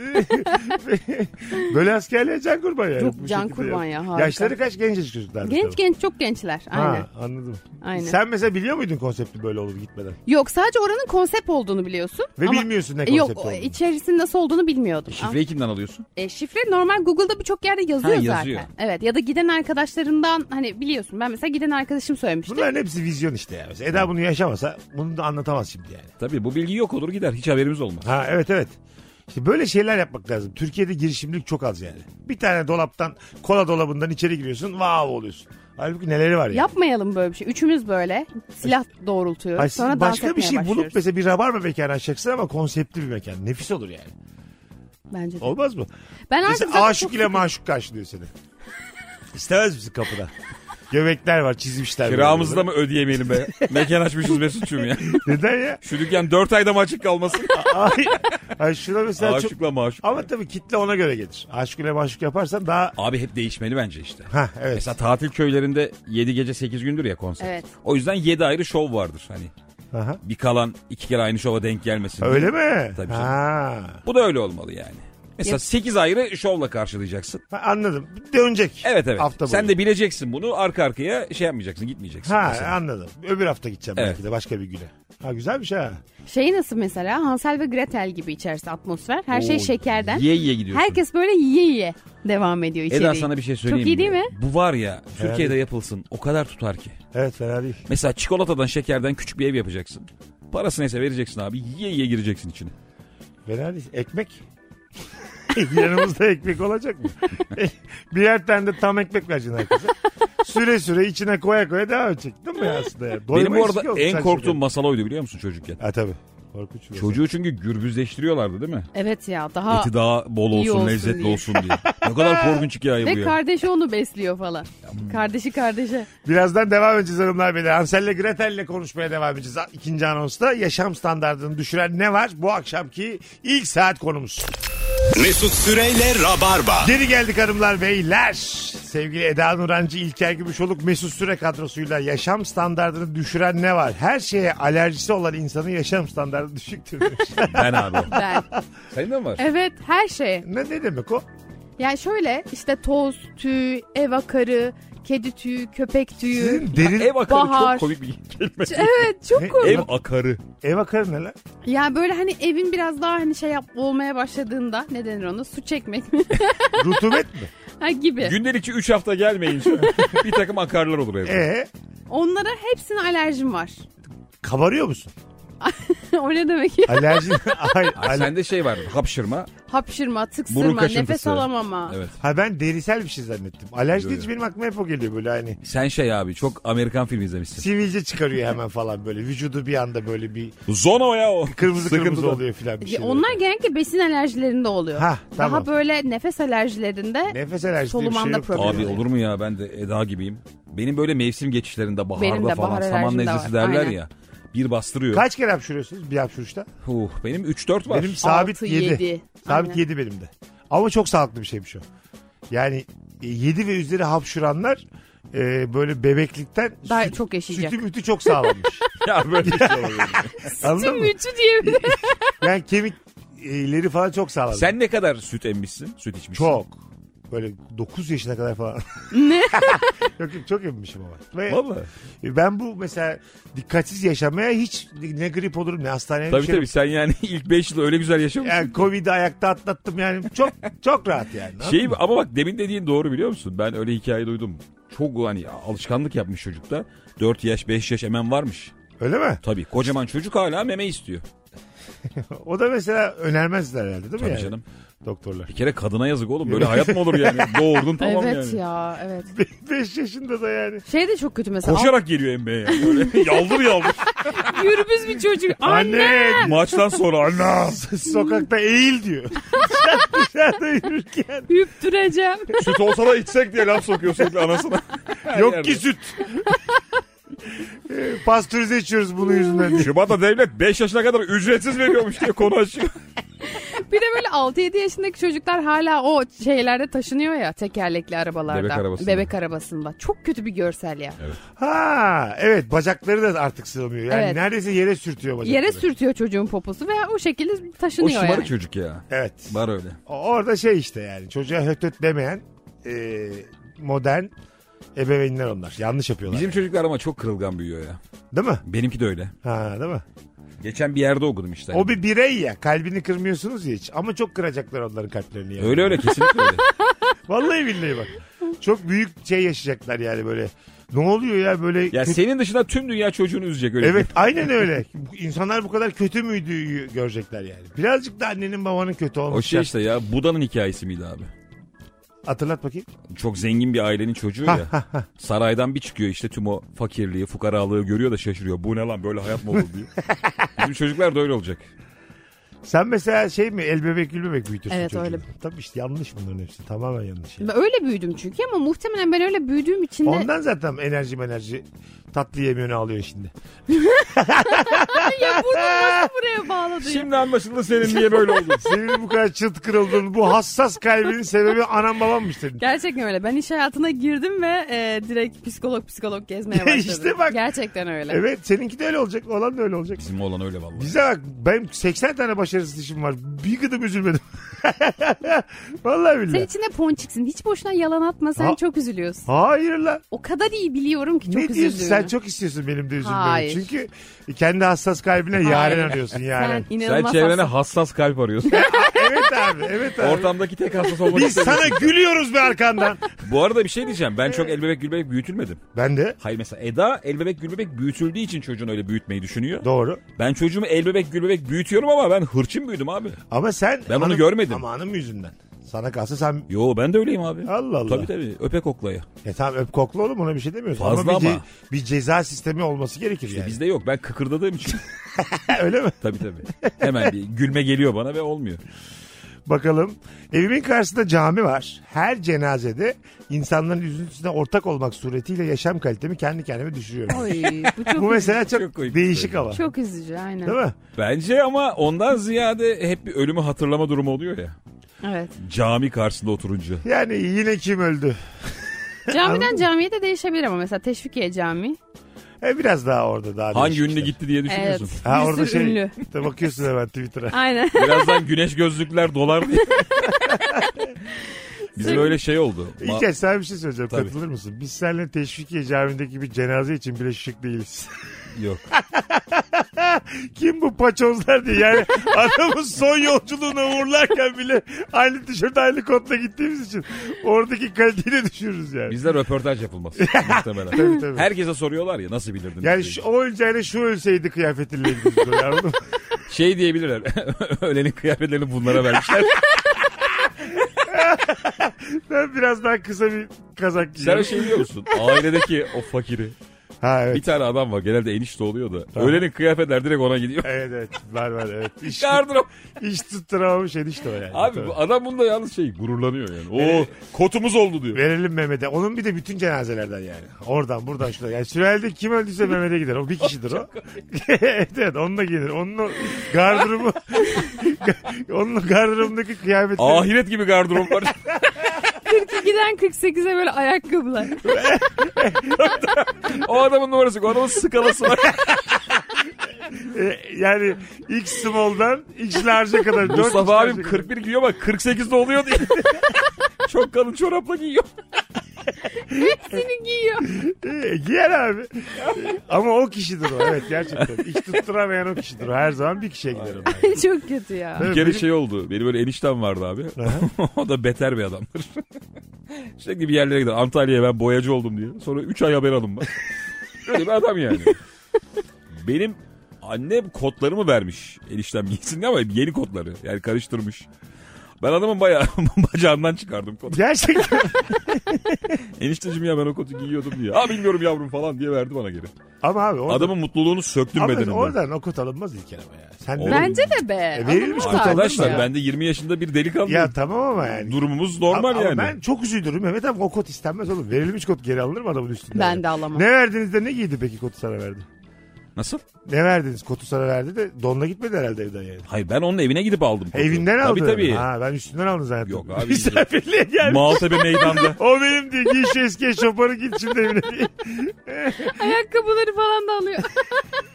S2: Böyle askerliğe can kurban yani.
S3: Yok,
S2: Bu
S3: can
S2: şekilde
S3: kurban
S2: yani.
S3: ya, harika.
S2: Yaşları kaç genç çocuklar?
S3: Genç genç çok gençler. Aynen.
S2: Ha, anladım.
S3: Aynen.
S2: Sen mesela biliyor muydun konsepti böyle olur gitmeden?
S3: Yok sadece oranın konsept olduğunu biliyorsun.
S2: Ve
S3: Ama-
S2: bilmiyorsun ne
S3: E, Yok
S2: konsept olduğunu.
S3: o- içerisinin nasıl olduğunu bilmiyordum. Ama-
S4: Şifreyi kimden alıyorsun?
S3: E, şifre normal Google'da birçok yerde yazıyor,
S4: Ha, yazıyor.
S3: zaten. Evet ya da giden arkadaşlarından hani biliyorsun ben mesela giden arkadaşım söylemişti.
S2: Bunların hepsi vizyon işte ya. Mesela Eda bunu yaşamasa bunu da anlatamaz şimdi yani.
S4: Tabii bu bilgi yok olur gider. Hiç haberimiz olmaz.
S2: Ha evet evet. İşte böyle şeyler yapmak lazım. Türkiye'de girişimcilik çok az yani. Bir tane dolaptan, kola dolabından içeri giriyorsun, vav oluyorsun. Halbuki neleri var ya.
S3: Yapmayalım böyle bir şey. Üçümüz böyle silah doğrultuyoruz.
S2: Ay, siz
S3: Sonra
S2: başka
S3: dans etmeye
S2: bir şey
S3: başlıyoruz.
S2: bulup mesela bir rabarba mekanı açacaksın ama konseptli bir mekan. Nefis olur yani.
S3: Bence de.
S2: Olmaz mı?
S3: Ben artık
S2: Mesela
S3: zaten
S2: aşık
S3: çok-
S2: ile maşuk karşılıyor seni. İstemez misin kapıda? Göbekler var çizmişler. böyle.
S4: Kiramızı da mı ödeyemeyelim be? Mekan açmışız Mesut'cum ya.
S2: Neden ya?
S4: Şu dükkan 4 ayda mı açık kalmasın?
S2: Ay, ay şuna mesela çok...
S4: Aşıkla maşuk.
S2: Ama tabii kitle ona göre gelir. Aşık ile maşuk yaparsan daha...
S4: Abi hep değişmeli bence işte.
S2: Ha evet.
S4: Mesela tatil köylerinde 7 gece 8 gündür ya konser.
S3: Evet.
S4: O yüzden 7 ayrı şov vardır. Hani
S2: Aha.
S4: bir kalan iki kere aynı şova denk gelmesin.
S2: Öyle mi?
S4: Tabii canım.
S2: ha.
S4: Bu da öyle olmalı yani. Mesela
S3: Yap-
S4: 8 ayrı şovla karşılayacaksın.
S2: Ha, Anladım. Dönecek.
S4: Evet evet.
S2: Hafta
S4: Sen
S2: boyu.
S4: de bileceksin bunu arka arkaya şey yapmayacaksın gitmeyeceksin.
S2: Ha
S4: mesela.
S2: anladım. Öbür hafta gideceğim
S4: Evet.
S2: belki de başka bir güne. Ha güzelmiş ha.
S3: Şey nasıl mesela Hansel ve Gretel gibi içerisi atmosfer. Her şey
S4: Oo,
S3: şekerden.
S4: Yiye yiye gidiyorsun.
S3: Herkes böyle yiye yiye devam ediyor içeriği.
S4: Eda sana bir şey söyleyeyim
S3: Çok iyi değil
S4: mi?
S3: mi?
S4: Bu var ya Türkiye'de yapılsın o kadar tutar ki.
S2: Evet fena değil.
S4: Mesela çikolatadan şekerden küçük bir ev yapacaksın. Parası neyse vereceksin abi yiye yiye gireceksin içine.
S2: Fena değil. Ekmek. Yanımızda ekmek olacak mı? Birer tane de tam ekmek vereceksin herkese. Süre süre içine koya koya devam edecek değil mi aslında? Ya? Doyma
S4: Benim bu
S2: riski yok
S4: arada en
S2: sen
S4: korktuğum
S2: şeker.
S4: masal oydu biliyor musun çocukken?
S2: Ha tabii. Korkunç bir
S4: Çocuğu çünkü gürbüzleştiriyorlardı değil mi?
S3: Evet ya daha
S4: Eti daha bol
S3: iyi
S4: olsun,
S3: olsun
S4: lezzetli
S3: diye.
S4: olsun diye. Ne kadar korkunç hikaye bu
S3: ve
S4: ya. hmm.
S3: kardeşi onu besliyor falan. Kardeşi kardeşe.
S2: Birazdan devam edeceğiz hanımlar beyler. Hansel'le Gretel'le konuşmaya devam edeceğiz. İkinci anonsta yaşam standartını düşüren ne var? Bu akşamki ilk saat konumuz.
S1: Mesut Süreyle Rabarba.
S2: Geri geldik hanımlar beyler. Sevgili Eda Nurancı, İlker Gümüşoluk, Mesut Süre kadrosuyla yaşam standartını düşüren ne var? Her şeye alerjisi olan insanın yaşam standartı düşüktür. demiş.
S4: Ben abi.
S3: Ben.
S4: Senin de mi var?
S3: evet her şey.
S2: ne, ne demek o?
S3: Yani şöyle işte toz, tüy, ev akarı, kedi tüyü, köpek tüyü.
S2: Sizin derin
S4: Ev akarı
S3: Bahar.
S4: çok komik bir kelime.
S3: Evet
S2: Ne?
S3: çok komik.
S4: Ev akarı.
S2: ev akarı ne lan?
S3: Yani böyle hani evin biraz daha hani şey yap olmaya başladığında ne denir ona su çekmek mi?
S2: Rutubet mi?
S3: ha gibi.
S4: Gündelikçi 3 hafta gelmeyince bir takım akarlar olur evde.
S2: Ee,
S3: Onlara hepsine alerjim var.
S2: kabarıyor musun?
S3: o ne demek ya?
S2: Alerji. Ay,
S4: Ha,
S2: al-
S4: sende şey var hapşırma.
S3: Hapşırma,
S4: Burun
S3: tıksırma,
S4: kaşıntısı.
S3: nefes alamama.
S4: Evet.
S2: Ha ben derisel bir şey zannettim. Alerji
S4: Yok,
S2: deyince
S4: yok.
S2: benim aklıma hep o geliyor böyle hani.
S4: Sen şey abi çok Amerikan filmi izlemişsin.
S2: Sivilce çıkarıyor hemen falan böyle. Vücudu bir anda böyle bir
S4: Zona o ya o.
S2: kırmızı kırmızı
S4: Sıkıntıdan.
S2: oluyor filan bir
S3: Ya
S2: şey.
S3: E, Onlar genellikle besin alerjilerinde oluyor.
S2: Ha, tamam.
S3: Daha böyle nefes alerjilerinde
S2: Nefes alerjisi diye bir şey
S3: solumanda
S2: yok.
S3: problem.
S4: Abi olur mu ya ben de Eda gibiyim. Benim böyle mevsim geçişlerinde baharda
S3: Benim de
S4: falan
S3: bahar
S4: saman
S3: alerjim de
S4: nezlesi
S3: var,
S4: derler
S3: aynen.
S4: ya. Bir bastırıyor.
S2: Kaç kere hapşırıyorsunuz bir hapşuruşta?
S4: Huh, benim 3-4 var.
S2: Benim sabit
S3: Altı,
S2: 7.
S3: yedi.
S2: Sabit
S3: Aynen.
S2: 7 benim de. Ama çok sağlıklı bir şeymiş o. Yani 7 ve üzeri hapşuranlar e, böyle bebeklikten
S3: Daha
S2: süt-
S3: çok yaşayacak.
S2: Sütü mütü çok sağlammış.
S4: Ya böyle bir şey olabilir.
S2: Anladın mı?
S3: Tümütü diyebilirim.
S2: Yani kemikleri falan çok sağlam.
S4: Sen ne kadar süt emmişsin? Süt içmişsin.
S2: Çok. Böyle 9 yaşına kadar falan. ne? yok yok, çok emmişim ama. Ve e,
S4: Vallahi.
S2: ben bu mesela dikkatsiz yaşamaya hiç ne grip olurum ne hastaneye
S4: Tabii
S2: düşerim.
S4: tabii sen yani ilk 5 yılı öyle güzel yaşamışsın.
S2: Yani Covid'i ayakta atlattım yani çok çok rahat yani.
S4: Şey ama bak demin dediğin doğru biliyor musun? Ben öyle hikaye duydum. Çok hani alışkanlık yapmış çocukta. 4 yaş 5 yaş hemen varmış.
S2: Öyle mi?
S4: Tabii kocaman çocuk hala meme istiyor.
S2: O da mesela önermezler herhalde değil mi
S4: Tabii
S2: yani?
S4: canım.
S2: Doktorlar.
S4: Bir kere kadına yazık oğlum. Böyle hayat mı olur yani? Doğurdun tamam
S3: evet
S4: yani.
S3: ya evet.
S2: 5 yaşında da yani.
S3: Şey de çok kötü mesela.
S4: Koşarak geliyor emmeye yani. Böyle yaldır yaldır.
S3: Al- Yürübüz bir çocuk. Anne.
S2: Anne!
S4: Maçtan sonra anne.
S2: Sokakta eğil diyor. Sen Dışarıda yürürken.
S3: Hüptüreceğim.
S4: Süt olsa da içsek diye laf sokuyor sürekli anasına.
S2: Yok ki süt. Ee, Pastörize içiyoruz bunun yüzünden. diye.
S4: Şubat'ta devlet 5 yaşına kadar ücretsiz veriyormuş diye konu açıyor.
S3: bir de böyle 6-7 yaşındaki çocuklar hala o şeylerde taşınıyor ya tekerlekli arabalarda.
S4: Bebek arabasında.
S3: Bebek arabasında. Çok kötü bir görsel ya.
S2: Ha evet bacakları da artık sığmıyor. Yani
S3: Evet.
S2: neredeyse yere sürtüyor bacakları.
S3: Yere sürtüyor çocuğun poposu ve o şekilde
S4: O
S3: taşınıyor
S4: şımarık
S3: yani.
S4: çocuk ya.
S2: Evet.
S4: Var öyle.
S2: O- Orada şey işte yani çocuğa höt höt demeyen e, modern ebeveynler onlar. Yanlış yapıyorlar.
S4: Bizim çocuklar ama çok kırılgan büyüyor ya.
S2: Değil mi?
S4: Benimki de öyle.
S2: Ha değil mi?
S4: Geçen bir yerde okudum işte.
S2: O bir birey ya. Kalbini kırmıyorsunuz ya hiç. Ama çok kıracaklar onların kalplerini. Yani.
S4: Öyle öyle kesinlikle öyle.
S2: Vallahi billahi bak. Çok büyük şey yaşayacaklar yani böyle. Ne oluyor ya böyle
S4: Ya
S2: kötü-
S4: senin dışında tüm dünya çocuğunu üzecek öyle.
S2: Evet aynen öyle. Bu- İnsanlar bu kadar kötü müydü görecekler yani. Birazcık da annenin babanın kötü
S4: O
S2: olmuş.
S4: şey
S2: ya.
S4: işte ya Buda'nın hikayesi miydi abi?
S2: Hatırlat bakayım.
S4: Çok zengin bir ailenin çocuğu ya. Saraydan bir çıkıyor işte tüm o fakirliği, fukaralığı görüyor da şaşırıyor. Bu ne lan böyle hayat mı olur diyor. Bizim çocuklar da öyle olacak.
S2: Sen mesela şey mi el bebek gül bebek büyütürsün
S3: Evet,
S2: çocuğu.
S3: öyle.
S2: Tabii işte yanlış bunların hepsi. Tamamen yanlış. yani.
S3: Ben öyle büyüdüm çünkü ama muhtemelen ben öyle büyüdüğüm için de
S2: Ondan zaten enerji enerji tatlı yemiyor ne alıyor şimdi.
S3: ya bunu nasıl buraya bağladın? ya?
S4: Şimdi anlaşıldı senin niye böyle oldun.
S2: Senin bu kadar çıt kırıldığın bu hassas kalbinin sebebi anam babammış senin.
S3: Gerçekten öyle. Ben iş hayatına girdim ve e, direkt psikolog psikolog gezmeye başladım.
S2: İşte bak.
S3: Gerçekten öyle.
S2: Evet seninki de öyle olacak. Olan da öyle olacak.
S4: Bizim olan öyle vallahi.
S2: Bize bak benim 80 tane başarısız işim var. Bir gıdım üzülmedim. Vallahi
S3: Sen
S2: billahi.
S3: içinde ponçiksin. Hiç boşuna yalan atma. Sen
S2: Ha-
S3: çok üzülüyorsun.
S2: Hayır lan.
S3: O kadar iyi biliyorum ki çok
S2: ne diyorsun
S3: üzüldüğünü.
S2: sen çok istiyorsun benim de üzülmemi.
S3: Hayır.
S2: Çünkü kendi hassas kalbine
S3: Hayır.
S2: yaren arıyorsun yaren.
S3: Sen inanılmaz
S4: Sen çevrene
S3: hassas.
S4: hassas kalp arıyorsun.
S2: evet abi evet abi.
S4: Ortamdaki tek hassas olmak
S2: Biz
S4: istemiyorsun.
S2: sana gülüyoruz be arkandan.
S4: Bu arada bir şey diyeceğim. Ben çok el bebek gül bebek büyütülmedim.
S2: Ben de
S4: Hayır mesela Eda el bebek gül bebek büyütüldüğü için çocuğunu öyle büyütmeyi düşünüyor.
S2: doğru.
S4: Ben çocuğumu el bebek gül bebek büyütüyorum ama ben hırçın büyüdüm abi.
S2: Ama sen
S4: Ben onu görmedim.
S2: Ama hanım yüzünden. Sana kalsa sen
S4: Yo ben de öyleyim abi.
S2: Allah Allah.
S4: Tabii tabii öpe koklaya.
S2: E tamam öp kokla oğlum ona bir şey demiyoruz.
S4: Fazla
S2: ama bir, ce-
S4: ama.
S2: bir ceza sistemi olması gerekir yani.
S4: E, Bizde yok ben kıkırdadığım için.
S2: Öyle mi?
S4: tabii tabii. Hemen bir gülme geliyor bana ve olmuyor.
S2: Bakalım. Evimin karşısında cami var. Her cenazede insanların üzüntüsüne ortak olmak suretiyle yaşam kalitemi kendi kendime düşürüyorum.
S3: Oy, bu çok,
S2: Bu mesela çok,
S4: Çok komik
S2: değişik
S4: bir
S2: ama.
S3: çok üzücü aynen.
S2: Değil mi?
S4: Bence ama ondan ziyade hep bir ölümü hatırlama durumu oluyor ya.
S3: Evet.
S4: Cami karşısında oturunca.
S2: Yani yine kim öldü?
S3: Camiden camiye de değişebilir ama mesela Teşvikiye Camii.
S2: E biraz daha orada daha
S4: Hangi
S2: değişikler.
S4: ünlü gitti diye
S3: Evet.
S4: düşünüyorsun.
S2: Ha
S3: bir
S2: orada
S3: sürü
S2: şey.
S3: ünlü.
S2: İşte bakıyorsun hemen Twitter'a.
S3: Aynen.
S4: Birazdan güneş gözlükler dolar diye. Bizim öyle şey oldu. Ma-
S2: İlker sana bir şey söyleyeceğim.
S4: Tabii.
S2: Katılır mısın? Biz seninle Teşvikiye Camii'ndeki bir cenaze için bile şık değiliz.
S4: Yok.
S2: Kim bu paçozlar diye yani adamın son yolculuğuna uğurlarken bile aynı tişört aynı kotla gittiğimiz için oradaki kaliteyi de düşürürüz yani.
S4: Bizde röportaj yapılmaz. muhtemelen.
S2: Tabii, tabii.
S4: Herkese soruyorlar ya nasıl bilirdin?
S2: yani
S4: diye.
S2: şu, o öleceğine şu ölseydi kıyafetiyle gidiyoruz. böyle, anladın mı?
S4: Şey diyebilirler. Ölenin kıyafetlerini bunlara vermişler.
S2: ben biraz daha kısa bir kazak
S4: Sen o
S2: giyiyorum.
S4: şey biliyor musun? Ailedeki o fakiri.
S2: Ha
S4: Bir
S2: evet.
S4: tane adam var genelde enişte oluyor da.
S2: Tamam.
S4: Ölenin kıyafetler direkt ona gidiyor.
S2: Evet evet var var evet. İş,
S4: Gardırop.
S2: iş tutturamamış enişte o yani.
S4: Abi
S2: Tabii.
S4: bu adam bunda yalnız şey gururlanıyor yani. Oo kotumuz oldu diyor.
S2: Verelim Mehmet'e. Onun bir de bütün cenazelerden yani. Oradan buradan şuradan. Yani sürelde kim öldüyse Mehmet'e gider. O bir kişidir o. evet evet onunla gelir. Onun o gardırobu onun gardırobundaki kıyafetleri.
S4: Ahiret gibi gardırop var.
S3: 42'den 48'e böyle ayakkabılar.
S4: o adamın numarası yok. O adamın skalası var.
S2: E, yani X small'dan X large'a kadar. dört X
S4: Mustafa
S2: large'a
S4: abim
S2: kadar.
S4: 41 giyiyor ama 48'de oluyor diye. Çok kalın çorapla giyiyor.
S3: Seni giyiyor.
S2: E, giyer abi. Ama o kişidir o. Evet gerçekten. İş tutturamayan o kişidir o. Her zaman bir kişiye gider o.
S3: çok kötü ya.
S4: Bir kere şey oldu. Benim böyle eniştem vardı abi. o da beter bir adamdır. Sürekli bir yerlere gider. Antalya'ya ben boyacı oldum diye. Sonra 3 ay haber alınmaz. Böyle bir adam yani. Benim annem kodlarımı vermiş eniştem giysin diye ama yeni kodları. Yani karıştırmış. Ben adamın bayağı bacağından çıkardım kodu.
S2: Gerçekten.
S4: Enişteciğim ya ben o kodu giyiyordum diye. Aa bilmiyorum yavrum falan diye verdi bana geri.
S2: Ama abi orada,
S4: Adamın mutluluğunu söktüm
S2: ama
S4: bedeninden.
S2: oradan o kut alınmaz ilk kere ama ya. Sen de-
S4: Oğlum,
S3: Bence de be.
S2: verilmiş
S3: Alınmaz artık
S4: Arkadaşlar
S3: ya.
S4: ben de 20 yaşında bir delikanlı.
S2: Ya tamam ama yani.
S4: Durumumuz normal
S2: Ama- ama
S4: yani.
S2: ben çok üzülürüm Mehmet abi o kot istenmez oğlum. Verilmiş kot geri alınır mı adamın üstünden?
S3: Ben
S2: yani?
S3: de alamam.
S2: Ne verdiniz de ne giydi peki kotu sana verdi?
S4: Nasıl?
S2: Ne verdiniz? Kotu sana verdi de donla gitmedi herhalde evden yani.
S4: Hayır ben onun evine gidip aldım. kotu.
S2: Evinden
S4: tabii,
S2: aldın.
S4: Tabii
S2: Ha, ben üstünden aldım zaten.
S4: Yok abi.
S2: Misafirliğe gelmiş.
S4: Maltepe meydanda.
S2: o benim diye giy şu eski eşofmanı git şimdi evine diye.
S3: Ayakkabıları falan da alıyor.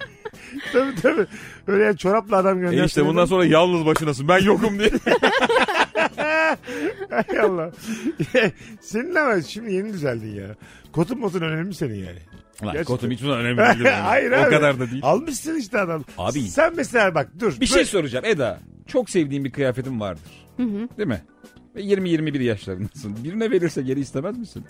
S2: tabii tabii. Öyle yani çorapla adam gönderdi.
S4: E işte bundan sonra yalnız başınasın ben yokum diye.
S2: Hay Allah. Senin ama şimdi yeni düzeldin ya. Kotun motun önemli senin yani.
S4: Lan
S2: Gerçekten.
S4: kotum hiç ulan önemli değil.
S2: Hayır
S4: o
S2: abi.
S4: kadar da değil.
S2: Almışsın işte adam.
S4: Abi.
S2: Sen mesela bak dur.
S4: Bir
S2: Böyle-
S4: şey soracağım Eda. Çok sevdiğim bir kıyafetim vardır. Değil mi? Ve 20-21 yaşlarındasın. Birine verirse geri istemez misin?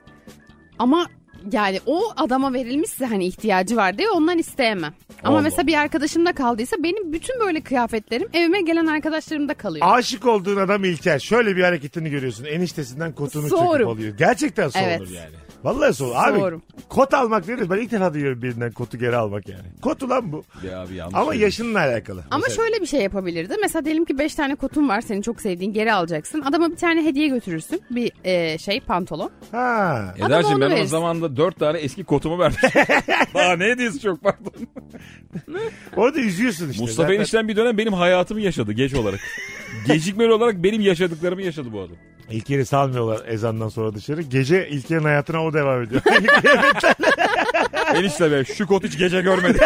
S3: Ama yani o adama verilmişse hani ihtiyacı var diye ondan isteyemem. Ama
S4: Allah
S3: mesela bir arkadaşımda kaldıysa benim bütün böyle kıyafetlerim evime gelen arkadaşlarımda kalıyor.
S2: Aşık olduğun adam İlker. Şöyle bir hareketini görüyorsun. Eniştesinden kotunu çekip
S3: Soğurum.
S2: alıyor. Gerçekten soğulur
S3: Evet.
S2: yani. Vallahi soğur. Abi
S3: Soğurum.
S2: kot almak deriz. Ben ilk defa duyuyorum birinden kotu geri almak yani. Kot ulan bu.
S4: Ya abi yanlış.
S2: Ama
S4: söyledim.
S2: yaşınla alakalı.
S3: Ama şöyle bir şey yapabilirdi. Mesela diyelim ki 5 tane kotun var senin çok sevdiğin geri alacaksın. Adama bir tane hediye götürürsün. Bir e, şey pantolon.
S2: Ha.
S3: Adama
S4: Eda'cığım
S3: onu
S4: ben o
S3: verirsin.
S4: zamanda 4 tane eski kotumu vermiştim. Daha ne hediyesi çok pardon.
S2: Orada üzüyorsun işte.
S4: Mustafa
S2: Zaten-
S4: enişten bir dönem benim hayatımı yaşadı geç olarak. Gecikmeli olarak benim yaşadıklarımı yaşadı bu adam.
S2: İlker'i salmıyorlar ezandan sonra dışarı. Gece İlker'in hayatına o devam ediyor.
S4: Enişte be şu kot hiç gece görmedi.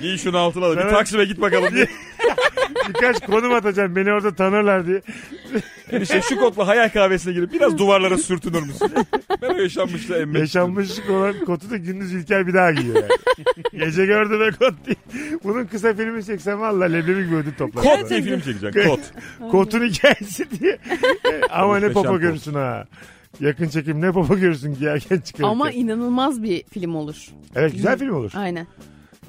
S4: Giy şunu altına da bir taksime git bakalım diye.
S2: Birkaç konum atacağım beni orada tanırlar diye.
S4: Enişte şu kotla hayal kahvesine girip biraz duvarlara sürtünür müsün? Ben o yaşanmışla emmek.
S2: Yaşanmışlık olan kotu da gündüz İlker bir daha giyiyor yani. Gece gördü be kot diye. Bunun kısa filmi çeksem valla leblebi gibi ödül toplar.
S4: Kot diye film çekeceksin kot.
S2: Kotun hikayesi diye. E, Ama ne
S4: Muhteşem
S2: popo
S4: kot.
S2: görürsün ha. Yakın çekim ne popo görürsün giyerken çıkarırken.
S3: Ama inanılmaz bir film olur.
S2: evet güzel film olur.
S3: Aynen.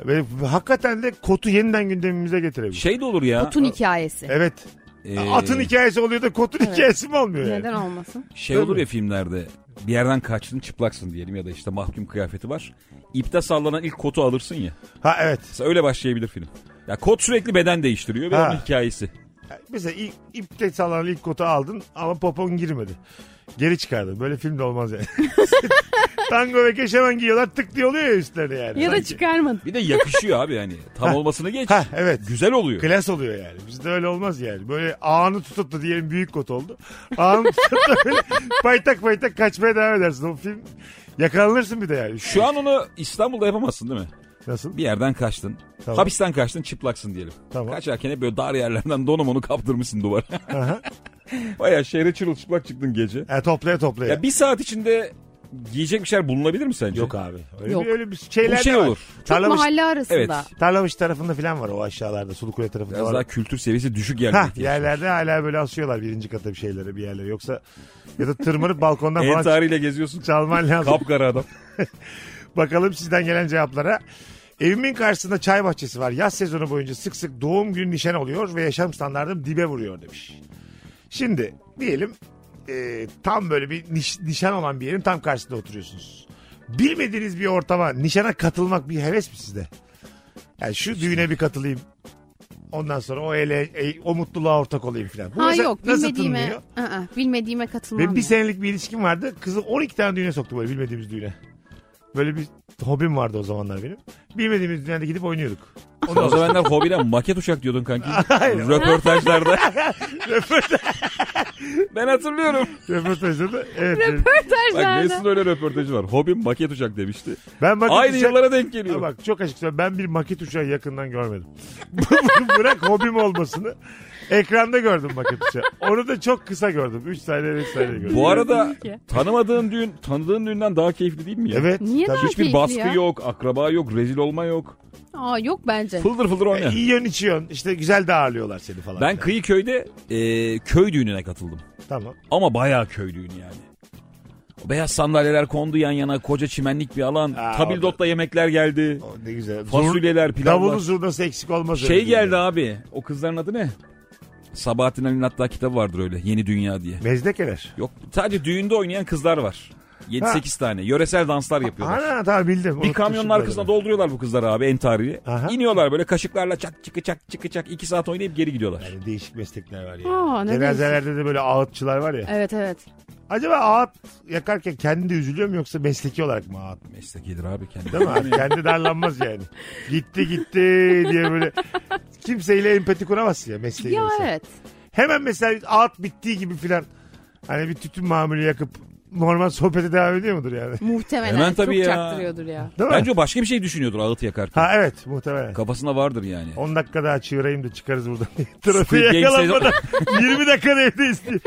S2: Ve hakikaten de kotu yeniden gündemimize getirebilir.
S4: Şey de olur ya.
S3: Kotun hikayesi.
S2: Evet.
S4: e,
S2: Atın hikayesi oluyor da kotun hikayesi mi olmuyor yani?
S3: Neden olmasın?
S4: Şey olur ya filmlerde. Bir yerden kaçtın çıplaksın diyelim ya da işte mahkum kıyafeti var. İpte sallanan ilk kotu alırsın ya.
S2: Ha evet.
S4: Mesela öyle başlayabilir film. Ya kot sürekli beden değiştiriyor ve
S2: Ha.
S4: onun hikayesi.
S2: Mesela ilk, ipte sallanan ilk kotu aldın ama popon girmedi. Geri çıkardın. Böyle film de olmaz yani. Tango ve keşemen giyiyorlar tık diye oluyor ya üstlerine yani.
S3: Ya da
S2: Sanki.
S3: çıkarmadın.
S4: Bir de yakışıyor abi yani. Tam olmasını geç.
S2: Ha evet.
S4: Güzel oluyor.
S2: Klas oluyor yani. Bizde öyle olmaz yani. Böyle ağını tutup da diyelim büyük kot oldu. Ağını tutup da böyle paytak paytak kaçmaya devam edersin. O film yakalanırsın bir de yani.
S4: Şu an onu İstanbul'da yapamazsın değil mi?
S2: Nasıl?
S4: Bir yerden kaçtın.
S2: Tamam.
S4: Hapisten kaçtın çıplaksın diyelim.
S2: Tamam.
S4: Kaçarken hep böyle dar yerlerden donum onu kaptırmışsın duvara.
S2: Aha.
S4: Baya şehre çırılçıplak çıktın gece.
S2: E, toplaya toplaya.
S4: Ya bir saat içinde giyecek bir şeyler bulunabilir mi sence?
S2: Yok abi. Öyle,
S3: Yok.
S2: Bir, öyle bir şeyler
S4: Bu şey
S2: de var.
S4: olur.
S3: Çok
S2: Tarlamış,
S3: mahalle arasında.
S4: Evet.
S2: Tarlamış tarafında falan var o aşağılarda. Sulukule tarafında
S4: Biraz
S2: var.
S4: daha kültür seviyesi düşük yerlere
S2: Ha,
S4: ihtiyaç var.
S2: yerlerde hala böyle asıyorlar birinci kata bir şeylere bir yerlere. Yoksa ya da tırmanıp balkondan falan
S4: Entariyle geziyorsun.
S2: çalman lazım.
S4: Kapkara adam.
S2: Bakalım sizden gelen cevaplara. Evimin karşısında çay bahçesi var. Yaz sezonu boyunca sık sık doğum günü nişan oluyor ve yaşam standartım dibe vuruyor demiş. Şimdi diyelim e, tam böyle bir niş- nişan olan bir yerin tam karşısında oturuyorsunuz. Bilmediğiniz bir ortama nişana katılmak bir heves mi sizde? Yani şu düğüne bir katılayım. Ondan sonra o ele, e, o mutluluğa ortak olayım falan. Bu
S3: Ha
S2: mesela
S3: yok
S2: nasıl
S3: bilmediğime,
S2: tınlıyor?
S3: Aa, bilmediğime katılmam.
S2: Benim bir
S3: ya.
S2: senelik bir ilişkim vardı. Kızı 12 tane düğüne soktu böyle bilmediğimiz düğüne. Böyle bir hobim vardı o zamanlar benim. Bilmediğimiz düğünde gidip oynuyorduk.
S4: O zamanlar hobine maket uçak diyordun kanki. Röportajlarda. ben hatırlıyorum.
S2: Röportajda da evet. benim-
S4: Bak
S3: Röportajlarda.
S4: Mesut'un öyle röportajı var. Hobim maket uçak demişti.
S2: Ben maket
S4: Aynı
S2: uçağı-
S4: yıllara denk
S2: Ha
S4: geliyor.
S2: Bak çok açık söyleyeyim, ben bir maket uçağı yakından görmedim. Bırak hobim olmasını. Ekranda gördüm maket uçağı. Onu da çok kısa gördüm. 3 saniye 5 saniye gördüm.
S4: Bu arada
S3: Bilmiyorum ki.
S4: tanımadığın düğün, tanıdığın düğünden daha keyifli değil mi ya?
S2: Evet.
S3: Niye
S2: tabii.
S3: daha
S4: Hiçbir
S3: keyifli
S4: baskı
S3: ya?
S4: yok, akraba yok, rezil olma yok.
S3: Aa yok bence.
S4: Fıldır fıldır oyna.
S2: İyi yön içiyorsun. İşte güzel de ağırlıyorlar seni falan.
S4: Ben
S2: filan.
S4: kıyı köyde e, köy düğününe katıldım.
S2: Tamam.
S4: Ama bayağı köy düğünü yani. O beyaz sandalyeler kondu yan yana koca çimenlik bir alan.
S2: Aa,
S4: Tabildotla yemekler geldi.
S2: O ne güzel.
S4: Fasulyeler,
S2: Davulu
S4: pilavlar.
S2: zurnası eksik olmaz. öyle
S4: Şey geldi
S2: düğünde.
S4: abi. O kızların adı ne? Sabahattin Ali'nin hatta kitabı vardır öyle. Yeni Dünya diye.
S2: Mezdekeler.
S4: Yok sadece düğünde oynayan kızlar var.
S2: Ha.
S4: 7-8 tane. Yöresel danslar yapıyorlar.
S2: Ana tamam bildim.
S4: Bir
S2: Unuttum
S4: kamyonun
S2: şimdi
S4: arkasına
S2: adını.
S4: dolduruyorlar bu kızları abi entariyi.
S2: Aha.
S4: İniyorlar böyle kaşıklarla çak çıkı çak çıkı çak 2 saat oynayıp geri gidiyorlar.
S2: Yani değişik meslekler var ya.
S3: Aa, ne
S2: Cenazelerde de böyle ağıtçılar var ya.
S3: Evet evet.
S2: Acaba ağıt yakarken kendi de üzülüyor mu yoksa mesleki olarak mı ağıt?
S4: Meslekidir abi kendi.
S2: Değil mi? abi? kendi darlanmaz yani. Gitti gitti diye böyle. Kimseyle empati kuramazsın ya mesleği.
S3: Ya
S2: olsa.
S3: evet.
S2: Hemen mesela ağıt bittiği gibi filan. Hani bir tütün mamülü yakıp normal sohbete devam ediyor mudur yani?
S3: Muhtemelen
S4: Hemen tabii
S3: çok
S4: ya.
S3: çaktırıyordur ya.
S2: Değil mi?
S4: Bence o başka bir şey düşünüyordur ağıt yakarken.
S2: Ha evet muhtemelen.
S4: Kafasında vardır yani.
S2: 10 dakika daha çığırayım da çıkarız buradan.
S4: Squid
S2: Trafiğe
S4: Game sezon-
S2: yakalanmadan 20 dakika evdeyiz diye.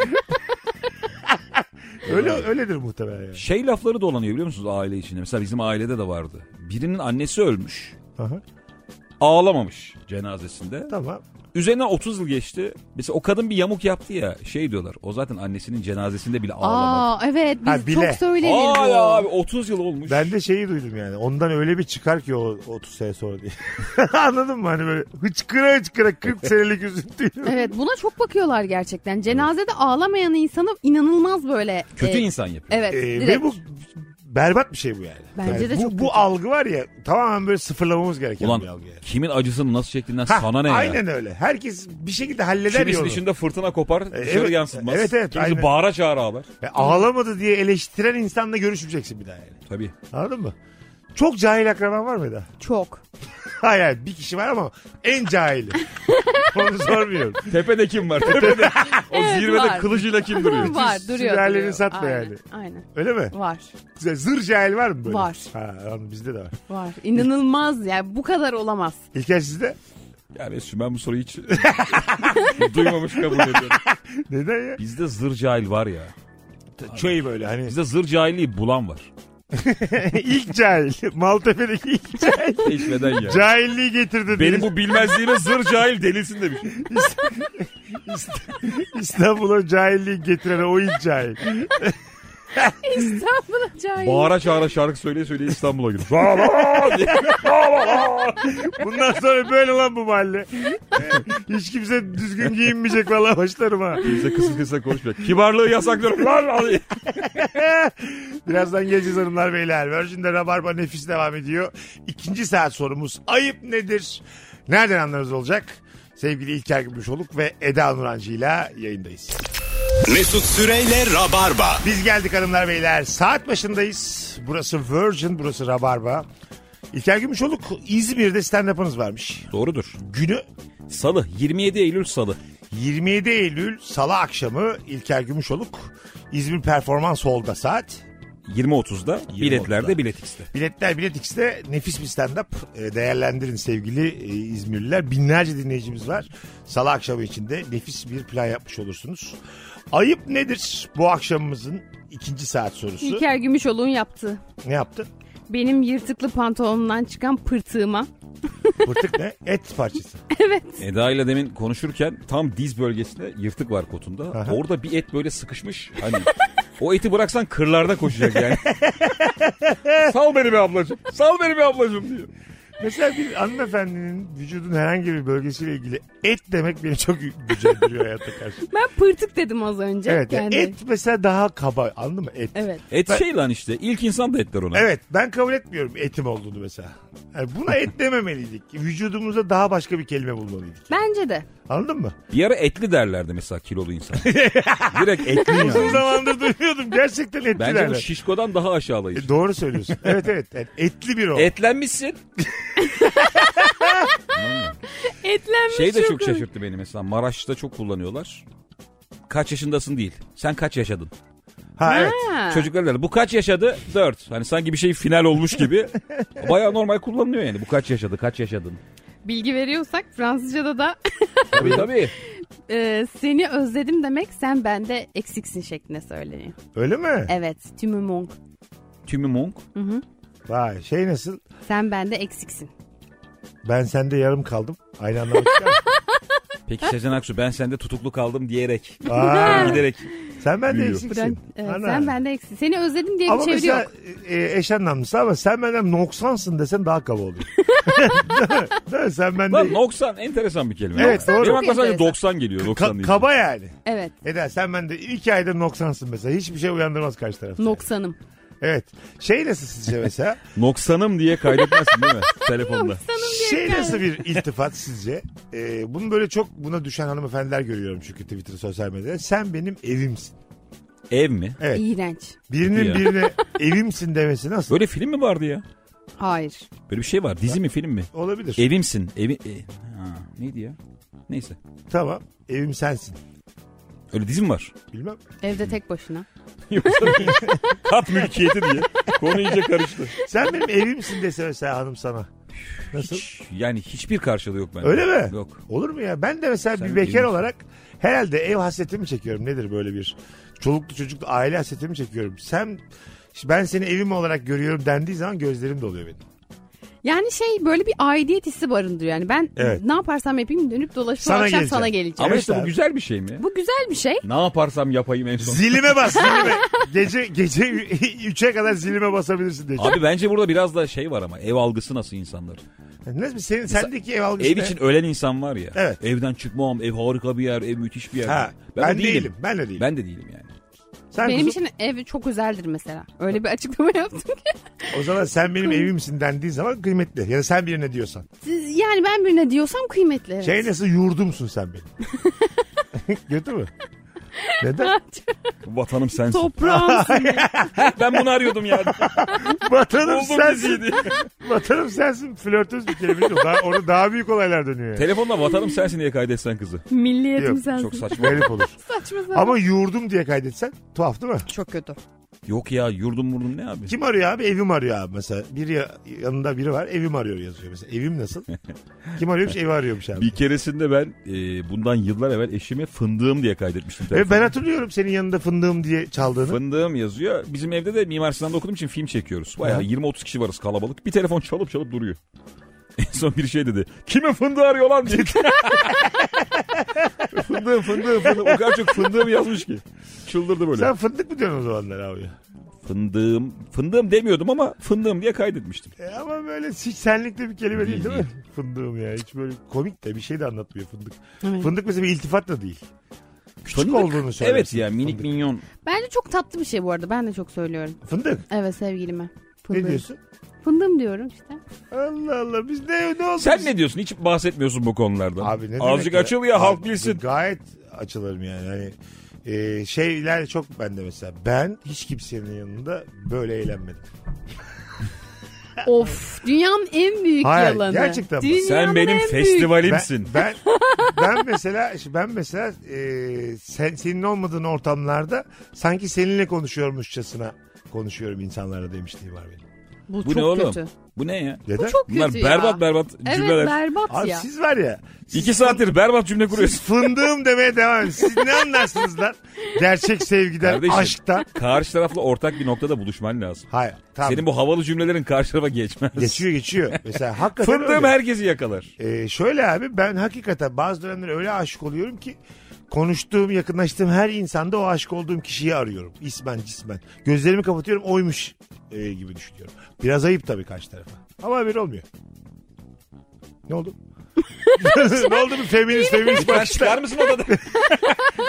S2: Öyle, öyledir muhtemelen yani.
S4: Şey lafları dolanıyor biliyor musunuz aile içinde? Mesela bizim ailede de vardı. Birinin annesi ölmüş.
S2: Aha,
S4: Ağlamamış cenazesinde.
S2: tamam.
S4: Üzerine 30 yıl geçti. Mesela o kadın bir yamuk yaptı ya. Şey diyorlar. O zaten annesinin cenazesinde bile ağlamadı.
S3: Aa evet biz
S2: Ha, bile.
S3: çok söylenir bu.
S4: Aa ya abi 30 yıl olmuş.
S2: Ben de şeyi duydum yani. Ondan öyle bir çıkar ki o 30 sene sonra diye. Anladın mı? Hani böyle hıçkıra hıçkıra 40 senelik üzüntüyle.
S3: Evet buna çok bakıyorlar gerçekten. Cenazede ağlamayan insanı inanılmaz böyle.
S4: Kötü
S3: e,
S4: insan yapıyor.
S3: Evet.
S2: Ee,
S3: direkt.
S2: ve bu berbat bir şey bu yani.
S3: Bence
S2: Yani
S3: de
S2: bu,
S3: çok
S2: bu
S3: kötü.
S2: algı var ya tamamen böyle sıfırlamamız gereken bir
S4: Ulan
S2: algı yani.
S4: kimin acısını nasıl çektiğinden
S2: Ha,
S4: sana ne ya? şey
S2: aynen öyle. Herkes bir şekilde halleder ya
S4: Kimisi
S2: onu.
S4: dışında fırtına kopar dışarı
S2: evet.
S4: yansıtmaz.
S2: Evet, evet,
S4: Kimisi
S2: aynen.
S4: bağıra çağıra ağlar.
S2: E, ağlamadı diye eleştiren insanla görüşmeyeceksin bir daha yani.
S4: Tabii.
S2: Anladın mı? Çok cahil akraban var mı da?
S3: Çok.
S2: Hayır hayır bir kişi var ama en cahili. Onu sormuyorum.
S4: Tepede kim var? Tepede. O
S3: Evet,
S4: zirvede
S3: var.
S4: kılıcıyla kim duruyor?
S3: var duruyor.
S2: sülaleni
S3: duruyor.
S2: satma
S3: Aynen,
S2: yani.
S3: Aynen.
S2: Öyle mi?
S3: Var.
S2: Zır cahil var mı böyle?
S3: Var.
S2: Ha, anladım, bizde de var.
S3: Var. İnanılmaz yani bu kadar olamaz.
S2: İlker sizde?
S4: Ya Mesut ben bu soruyu hiç duymamış kabul ediyorum.
S2: Neden ya?
S4: Bizde zır cahil var ya.
S2: Şey böyle hani
S4: Bizde zır cahilliği bulan var.
S2: ilk cahil. Maltepe'deki ilk cahil.
S4: Teşmeden ya.
S2: Cahilliği getirdi.
S4: Benim
S2: diye
S4: bu bilmezliğime zır cahil denilsin demiş.
S2: İstanbul'a cahilliği getiren o ilk cahil.
S3: İstanbul'a cahil.
S4: Bağıra çağıra şarkı söyleye söyleye İstanbul'a gidip.
S2: Bundan sonra böyle lan bu mahalle. Hiç kimse düzgün giyinmeyecek vallahi başlarım ha.
S4: Bize kısa kısa konuşmuyor. Kibarlığı yasaklıyorum. Lan, lan.
S2: Birazdan geleceğiz hanımlar beyler. Virgin'de Rabarba nefis devam ediyor. İkinci saat sorumuz ayıp nedir? Nereden anlarız olacak? Sevgili İlker Gümüşoluk ve Eda Nurancı ile yayındayız.
S1: Mesut Süreyle Rabarba.
S2: Biz geldik hanımlar beyler. Saat başındayız. Burası Virgin, burası Rabarba. İlker Gümüşoluk İzmir'de stand-up'ınız varmış.
S4: Doğrudur.
S2: Günü
S4: Salı 27 Eylül Salı.
S2: 27 Eylül Salı akşamı İlker Gümüşoluk İzmir Performans Hall'da saat.
S4: 20.30'da biletlerde biletikste.
S2: Biletler Bilet X'te nefis bir stand-up. E, Değerlendirin sevgili e, İzmirliler. Binlerce dinleyicimiz var. Salı akşamı içinde nefis bir plan yapmış olursunuz. Ayıp nedir bu akşamımızın ikinci saat sorusu?
S3: İlker Gümüşoğlu'nun yaptığı.
S2: Ne yaptı?
S3: Benim yırtıklı pantolonumdan çıkan pırtığıma.
S2: Pırtık ne? Et parçası.
S4: Eda ile demin konuşurken tam diz bölgesinde yırtık var kotunda.
S2: Aha.
S4: Orada bir et böyle sıkışmış. Hani o eti bıraksan kırlarda koşacak yani. sal beni be ablacığım. Sal beni be ablacığım diyor.
S2: Mesela bir hanımefendinin vücudun herhangi bir bölgesiyle ilgili et demek beni çok gücendiriyor hayata karşı.
S3: Ben pırtık dedim az önce.
S2: Evet. ya
S3: Yani-
S2: Et mesela daha kaba. Anladın mı? Et.
S3: Evet.
S4: Et
S2: Ben-
S4: şey lan işte. İlk insan da etler ona.
S2: Evet ben kabul etmiyorum etim olduğunu mesela. Yani buna et dememeliydik. Vücudumuza daha başka bir kelime bulmalıydık.
S3: Bence de.
S2: Anladın mı?
S4: Bir ara etli derlerdi mesela kilolu insan. Direkt etli
S2: Uzun
S4: yani.
S2: zamandır duymuyordum. Gerçekten etli
S4: Bence bu
S2: derler.
S4: şişkodan daha aşağılayıcı.
S2: E, Doğru söylüyorsun. Evet evet. Yani etli bir o.
S4: Etlenmişsin.
S3: Etlenmiş
S4: Şey de çok şaşırttı beni mesela. Maraş'ta çok kullanıyorlar. Kaç yaşındasın değil. Sen kaç yaşadın?
S2: Ha evet.
S4: Çocuklar derler bu kaç yaşadı? 4. Hani sanki bir şey final olmuş gibi. Baya normal kullanılıyor yani. Bu kaç yaşadı? Kaç yaşadın?
S3: Bilgi veriyorsak Fransızca'da da
S4: Tabii tabii.
S3: e, seni özledim demek sen bende eksiksin şeklinde söyleniyor.
S2: Öyle mi?
S3: Evet. Tu me manques.
S4: Tümü monk.
S2: Vay şey nasıl?
S3: Sen bende eksiksin.
S2: Ben sende yarım kaldım. Aynı anlamda çıkar mı?
S4: Peki Sezen Aksu ben sende tutuklu kaldım diyerek.
S2: Aa,
S4: giderek.
S2: sen bende
S4: Büyüyor.
S2: eksiksin.
S3: Evet,
S2: şey. Ana.
S3: e, sen bende eksiksin. Seni özledim diye
S2: ama
S3: bir çeviri
S2: mesela
S3: yok.
S2: e, eş anlamlısı ama sen benden noksansın desen daha kaba oluyor. Değil mi? Değil mi? Sen bende
S4: Lan 90 enteresan bir kelime.
S2: Evet, doğru.
S4: Benim
S2: Çok
S4: aklıma sadece
S3: enteresan.
S4: 90 geliyor. 90
S2: Ka-
S4: deyince.
S2: kaba yani.
S3: Evet.
S2: Eda sen bende iki ayda noksansın mesela. Hiçbir şey uyandırmaz karşı tarafta.
S3: Noksanım.
S2: Evet. Şey nasıl sizce mesela?
S4: Noksanım diye kaydetmezsin değil mi? Telefonda.
S3: Noksanım
S2: şey nasıl bir iltifat sizce? Ee, bunu böyle çok buna düşen hanımefendiler görüyorum çünkü Twitter sosyal medyada. Sen benim evimsin.
S4: Ev mi?
S2: Evet.
S3: İğrenç.
S2: Birinin
S4: Ya.
S2: birine evimsin demesi nasıl?
S4: Böyle film mi vardı ya?
S3: Hayır.
S4: Böyle bir şey var. Dizi mi film mi?
S2: Olabilir.
S4: Evimsin. Evi... e- Ha, neydi ya? Neyse.
S2: Tamam. Evim sensin.
S4: Öyle dizi mi var?
S2: Bilmem.
S3: Evde tek başına.
S4: Kat mülkiyeti diye. Konu iyice karıştı.
S2: Sen benim evimsin dese mesela hanım sana. Nasıl?
S4: Yani hiçbir karşılığı yok bende.
S2: Öyle mi?
S4: Yok.
S2: Olur mu ya? Ben de mesela
S4: Sen
S2: bir bekar
S4: evimsin.
S2: olarak herhalde ev hasretimi çekiyorum. Nedir böyle bir? Çoluklu çocuklu aile hasretimi çekiyorum. Sen ben seni evim olarak görüyorum dendiği zaman gözlerim doluyor benim.
S3: Yani şey böyle bir aidiyet hissi barındırıyor. Yani ben
S2: Evet.
S3: ne yaparsam yapayım dönüp dolaşıp
S2: Sana
S3: o akşam
S2: geleceğim.
S3: sana geleceğim.
S4: Ama
S2: Evet
S4: işte
S2: abi.
S4: bu güzel bir şey mi?
S3: Bu güzel bir şey.
S4: Ne yaparsam yapayım en son.
S2: Zilime bas zilime. gece gece 3'e kadar zilime basabilirsin diye.
S4: Abi bence burada biraz da şey var ama ev algısı nasıl insanlar?
S2: Nasıl senin sendeki ev algısı
S4: Ev
S2: ne?
S4: için ölen insan var ya.
S2: Evet.
S4: Evden çıkmam, ev harika bir yer, ev müthiş bir yer.
S2: Ha, ben,
S4: o
S2: değilim. Ben de değilim.
S4: Ben de değilim yani.
S2: sen
S3: Benim
S2: kuzum-
S3: için ev çok özeldir mesela. Öyle bir açıklama yaptım ki.
S2: o zaman sen benim evimsin dendiği zaman kıymetli. Ya da sen birine diyorsan.
S3: Siz- Yani ben birine diyorsam kıymetli. evet.
S2: Şey nasıl yurdumsun sen benim. Kötü mü? Neden?
S4: Vatanım sensin.
S3: Toprağımsın.
S4: ben bunu arıyordum yani.
S2: Vatanım
S4: Buldum
S2: sensin.
S4: diziyi diye.
S2: Vatanım sensin. Flörtöz bir kelime. değil. Daha, orada daha büyük olaylar dönüyor. yani.
S4: Telefonla vatanım sensin diye kaydetsen kızı.
S3: Milliyetim
S2: Yok,
S3: sensin.
S4: Çok saçma.
S2: Garip olur.
S3: saçma sapan.
S2: Ama yurdum diye kaydetsen tuhaf değil mi?
S3: Çok kötü.
S4: Yok ya yurdum vurdum ne abi?
S2: Kim arıyor abi? Evim arıyor abi mesela. Biri ya- yanında biri var. Evim arıyor yazıyor mesela. Evim nasıl? Kim arıyormuş? Evi arıyormuş abi.
S4: Bir keresinde ben e, bundan yıllar evvel eşime fındığım diye kaydetmiştim.
S2: Ve
S4: telefonu.
S2: ben hatırlıyorum senin yanında fındığım diye çaldığını.
S4: Fındığım yazıyor. Bizim evde de Mimar Sinan'da okuduğum için film çekiyoruz. Bayağı
S2: Hı.
S4: 20-30 kişi varız kalabalık. Bir telefon çalıp çalıp duruyor. En son bir şey dedi. Kimin fındığı arıyor lan dedi. fındığım fındığım fındığım. O kadar çok fındığım yazmış ki. Çıldırdı böyle.
S2: Sen fındık mı diyorsun o zamanlar abi?
S4: Fındığım. Fındığım demiyordum ama fındığım diye kaydetmiştim.
S2: E ama böyle hiç senlikte bir kelime değil
S4: Değil,
S2: değil mi? Fındığım ya. Hiç böyle komik de bir şey de anlatmıyor fındık.
S3: Evet.
S2: Fındık mesela bir iltifat da değil. Küçük
S4: Fındık.
S2: olduğunu söylersin.
S4: Evet ya minik
S2: fındık.
S4: minyon.
S3: Bence çok tatlı bir şey bu arada. Ben de çok söylüyorum.
S2: Fındık.
S3: Evet sevgilime.
S2: Ne diyorsun?
S3: Fındığım diyorum işte.
S2: Allah Allah biz ne, ne oldu?
S4: Sen ne diyorsun? Hiç bahsetmiyorsun bu konulardan.
S2: Abi ne demek
S4: Azıcık açıl ya halk
S2: Abi,
S4: bilsin.
S2: Gayet açılırım yani. Hani e, şeyler çok bende mesela. Ben hiç kimsenin yanında böyle eğlenmedim.
S3: Of dünyanın en büyük
S2: Hayır,
S3: yalanı.
S2: gerçekten bak.
S3: Dünyanın
S4: Sen benim
S3: en büyük-
S4: festivalimsin.
S2: Ben ben, ben mesela ben mesela e, sen senin olmadığın ortamlarda sanki seninle konuşuyormuşçasına konuşuyorum insanlara demişliği var benim.
S3: Bu,
S4: Bu
S3: çok
S4: ne oğlum?
S3: kötü.
S4: Bu ne ya?
S2: Neden?
S3: Bu çok kötü
S4: Bunlar
S3: ya.
S4: berbat berbat
S3: Evet
S4: cümleler.
S3: berbat
S2: Abi
S3: ya.
S2: siz var ya. siz
S4: İki saattir berbat cümle kuruyorsun.
S2: Fındığım demeye devam edin. Siz ne anlarsınız lan? Gerçek sevgiden,
S4: Kardeşim.
S2: aşktan.
S4: Karşı tarafla ortak bir noktada buluşman lazım.
S2: Hayır. Tamam.
S4: Senin bu havalı cümlelerin karşı tarafa geçmez.
S2: Geçiyor geçiyor. Mesela hakikaten
S4: Fındığım
S2: öyle.
S4: herkesi yakalar.
S2: Ee, şöyle abi ben hakikaten bazı dönemler öyle aşık oluyorum ki konuştuğum, yakınlaştığım her insanda o aşık olduğum kişiyi arıyorum. İsmen cismen. Gözlerimi kapatıyorum oymuş e, gibi düşünüyorum. Biraz ayıp tabii karşı tarafa. Ama haber olmuyor. Ne oldu? ne oldu bu feminist feminist
S4: Ben
S2: bakışlar?
S4: çıkar mısın odada?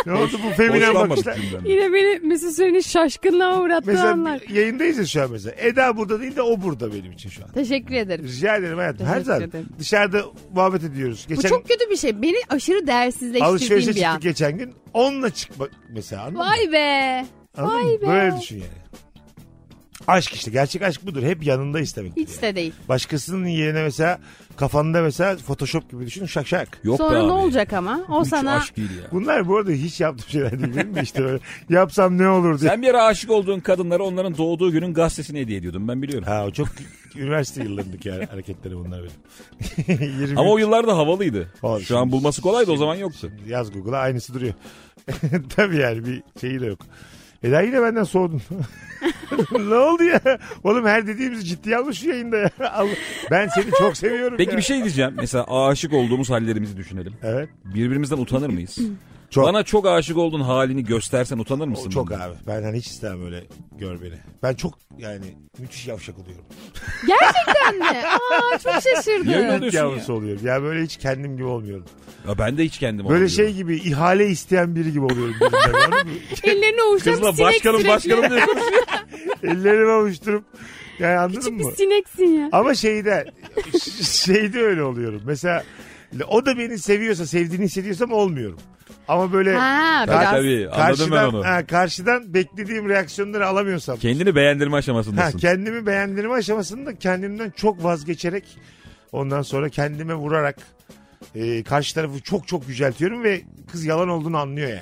S2: Ne oldu bu feminen
S4: Hoşlanmadım
S2: bakışlar?
S4: cümlenden.
S3: Yine beni Mesut Süren'in şaşkınlığa uğrattığı
S2: Mesela
S3: anlar.
S2: yayındayız ya şu an mesela. Eda burada değil de o burada benim için şu an.
S3: Teşekkür ederim.
S2: Rica ederim hayatım. Her
S3: Teşekkür
S2: zaman
S3: ederim.
S2: dışarıda muhabbet ediyoruz.
S3: Bu
S2: Geçen
S3: çok kötü bir şey. Beni aşırı değersizleştirdiğim
S2: alışverişe
S3: bir
S2: çıktık
S3: an.
S2: geçen gün. Onunla çıkmak mesela anladın mı?
S3: Vay be.
S2: Anladın
S3: Vay
S2: mı?
S3: be.
S2: Böyle düşün yani. Aşk işte gerçek aşk budur. Hep yanında istemek.
S3: Hiç de değil.
S2: Başkasının yerine mesela kafanda mesela Photoshop gibi düşün şak şak.
S4: Yok be
S3: Sonra
S4: abi.
S3: ne olacak ama? O
S4: Hiç
S3: sana
S4: aşk değil ya.
S2: Bunlar bu arada hiç yaptığım şeyler değil benim de işte böyle yapsam ne olur diye.
S4: Sen bir ara aşık olduğun kadınlara onların doğduğu günün gazetesini hediye ediyordun ben biliyorum.
S2: Ha o çok üniversite yıllarındaki ha- hareketleri bunlar benim. 20
S4: Ama o yıllarda havalıydı.
S2: Abi
S4: Şu an
S2: şimdi-
S4: bulması kolaydı o zaman yoktu.
S2: yaz Google'a aynısı duruyor. Tabii yani bir şeyi de yok. Eda yine benden soğudun. ne oldu ya? Oğlum her dediğimizi ciddiye almış şu yayında ya. Allah- Ben seni çok seviyorum
S4: Peki
S2: ya.
S4: bir şey diyeceğim. Mesela aşık olduğumuz hallerimizi düşünelim.
S2: Evet.
S4: Birbirimizden utanır mıyız?
S2: Çok.
S4: Bana çok aşık olduğun halini göstersen utanır mısın?
S2: O çok
S4: bundan?
S2: abi. Ben hani hiç istemem öyle gör beni. Ben çok yani müthiş yavşak oluyorum.
S3: gerçekten mi? Aa çok
S4: Niye öyle
S3: şaşırdım.
S4: oluyorsun ya?
S2: Yavrusu oluyorum. Ya böyle hiç kendim gibi olmuyorum.
S4: Ya ben de hiç kendim
S2: Böyle
S4: alamıyorum.
S2: şey gibi ihale isteyen biri gibi oluyorum. birinde, anladın mı?
S3: Ellerini ovuşturup
S4: Kızla
S3: sinek
S4: başkanım
S3: sürekli.
S4: başkanım diye
S2: Ellerimi avuşturup. Yani anladın
S3: Küçük
S2: mı?
S3: bir sineksin ya.
S2: Ama şeyde şeyde öyle oluyorum. Mesela o da beni seviyorsa, sevdiğini hissediyorsam olmuyorum. Ama böyle
S3: Ha
S4: Ha,
S3: biraz.
S4: tabii anladım ben
S2: karşıdan,
S4: onu.
S2: ha, karşıdan beklediğim reaksiyonları alamıyorsam.
S4: Kendini beğendirme
S2: Ha,
S4: aşamasındasın.
S2: kendimi beğendirme aşamasında kendimden çok vazgeçerek ondan sonra kendime vurarak e, karşı tarafı çok çok yüceltiyorum ve kız yalan olduğunu anlıyor yani.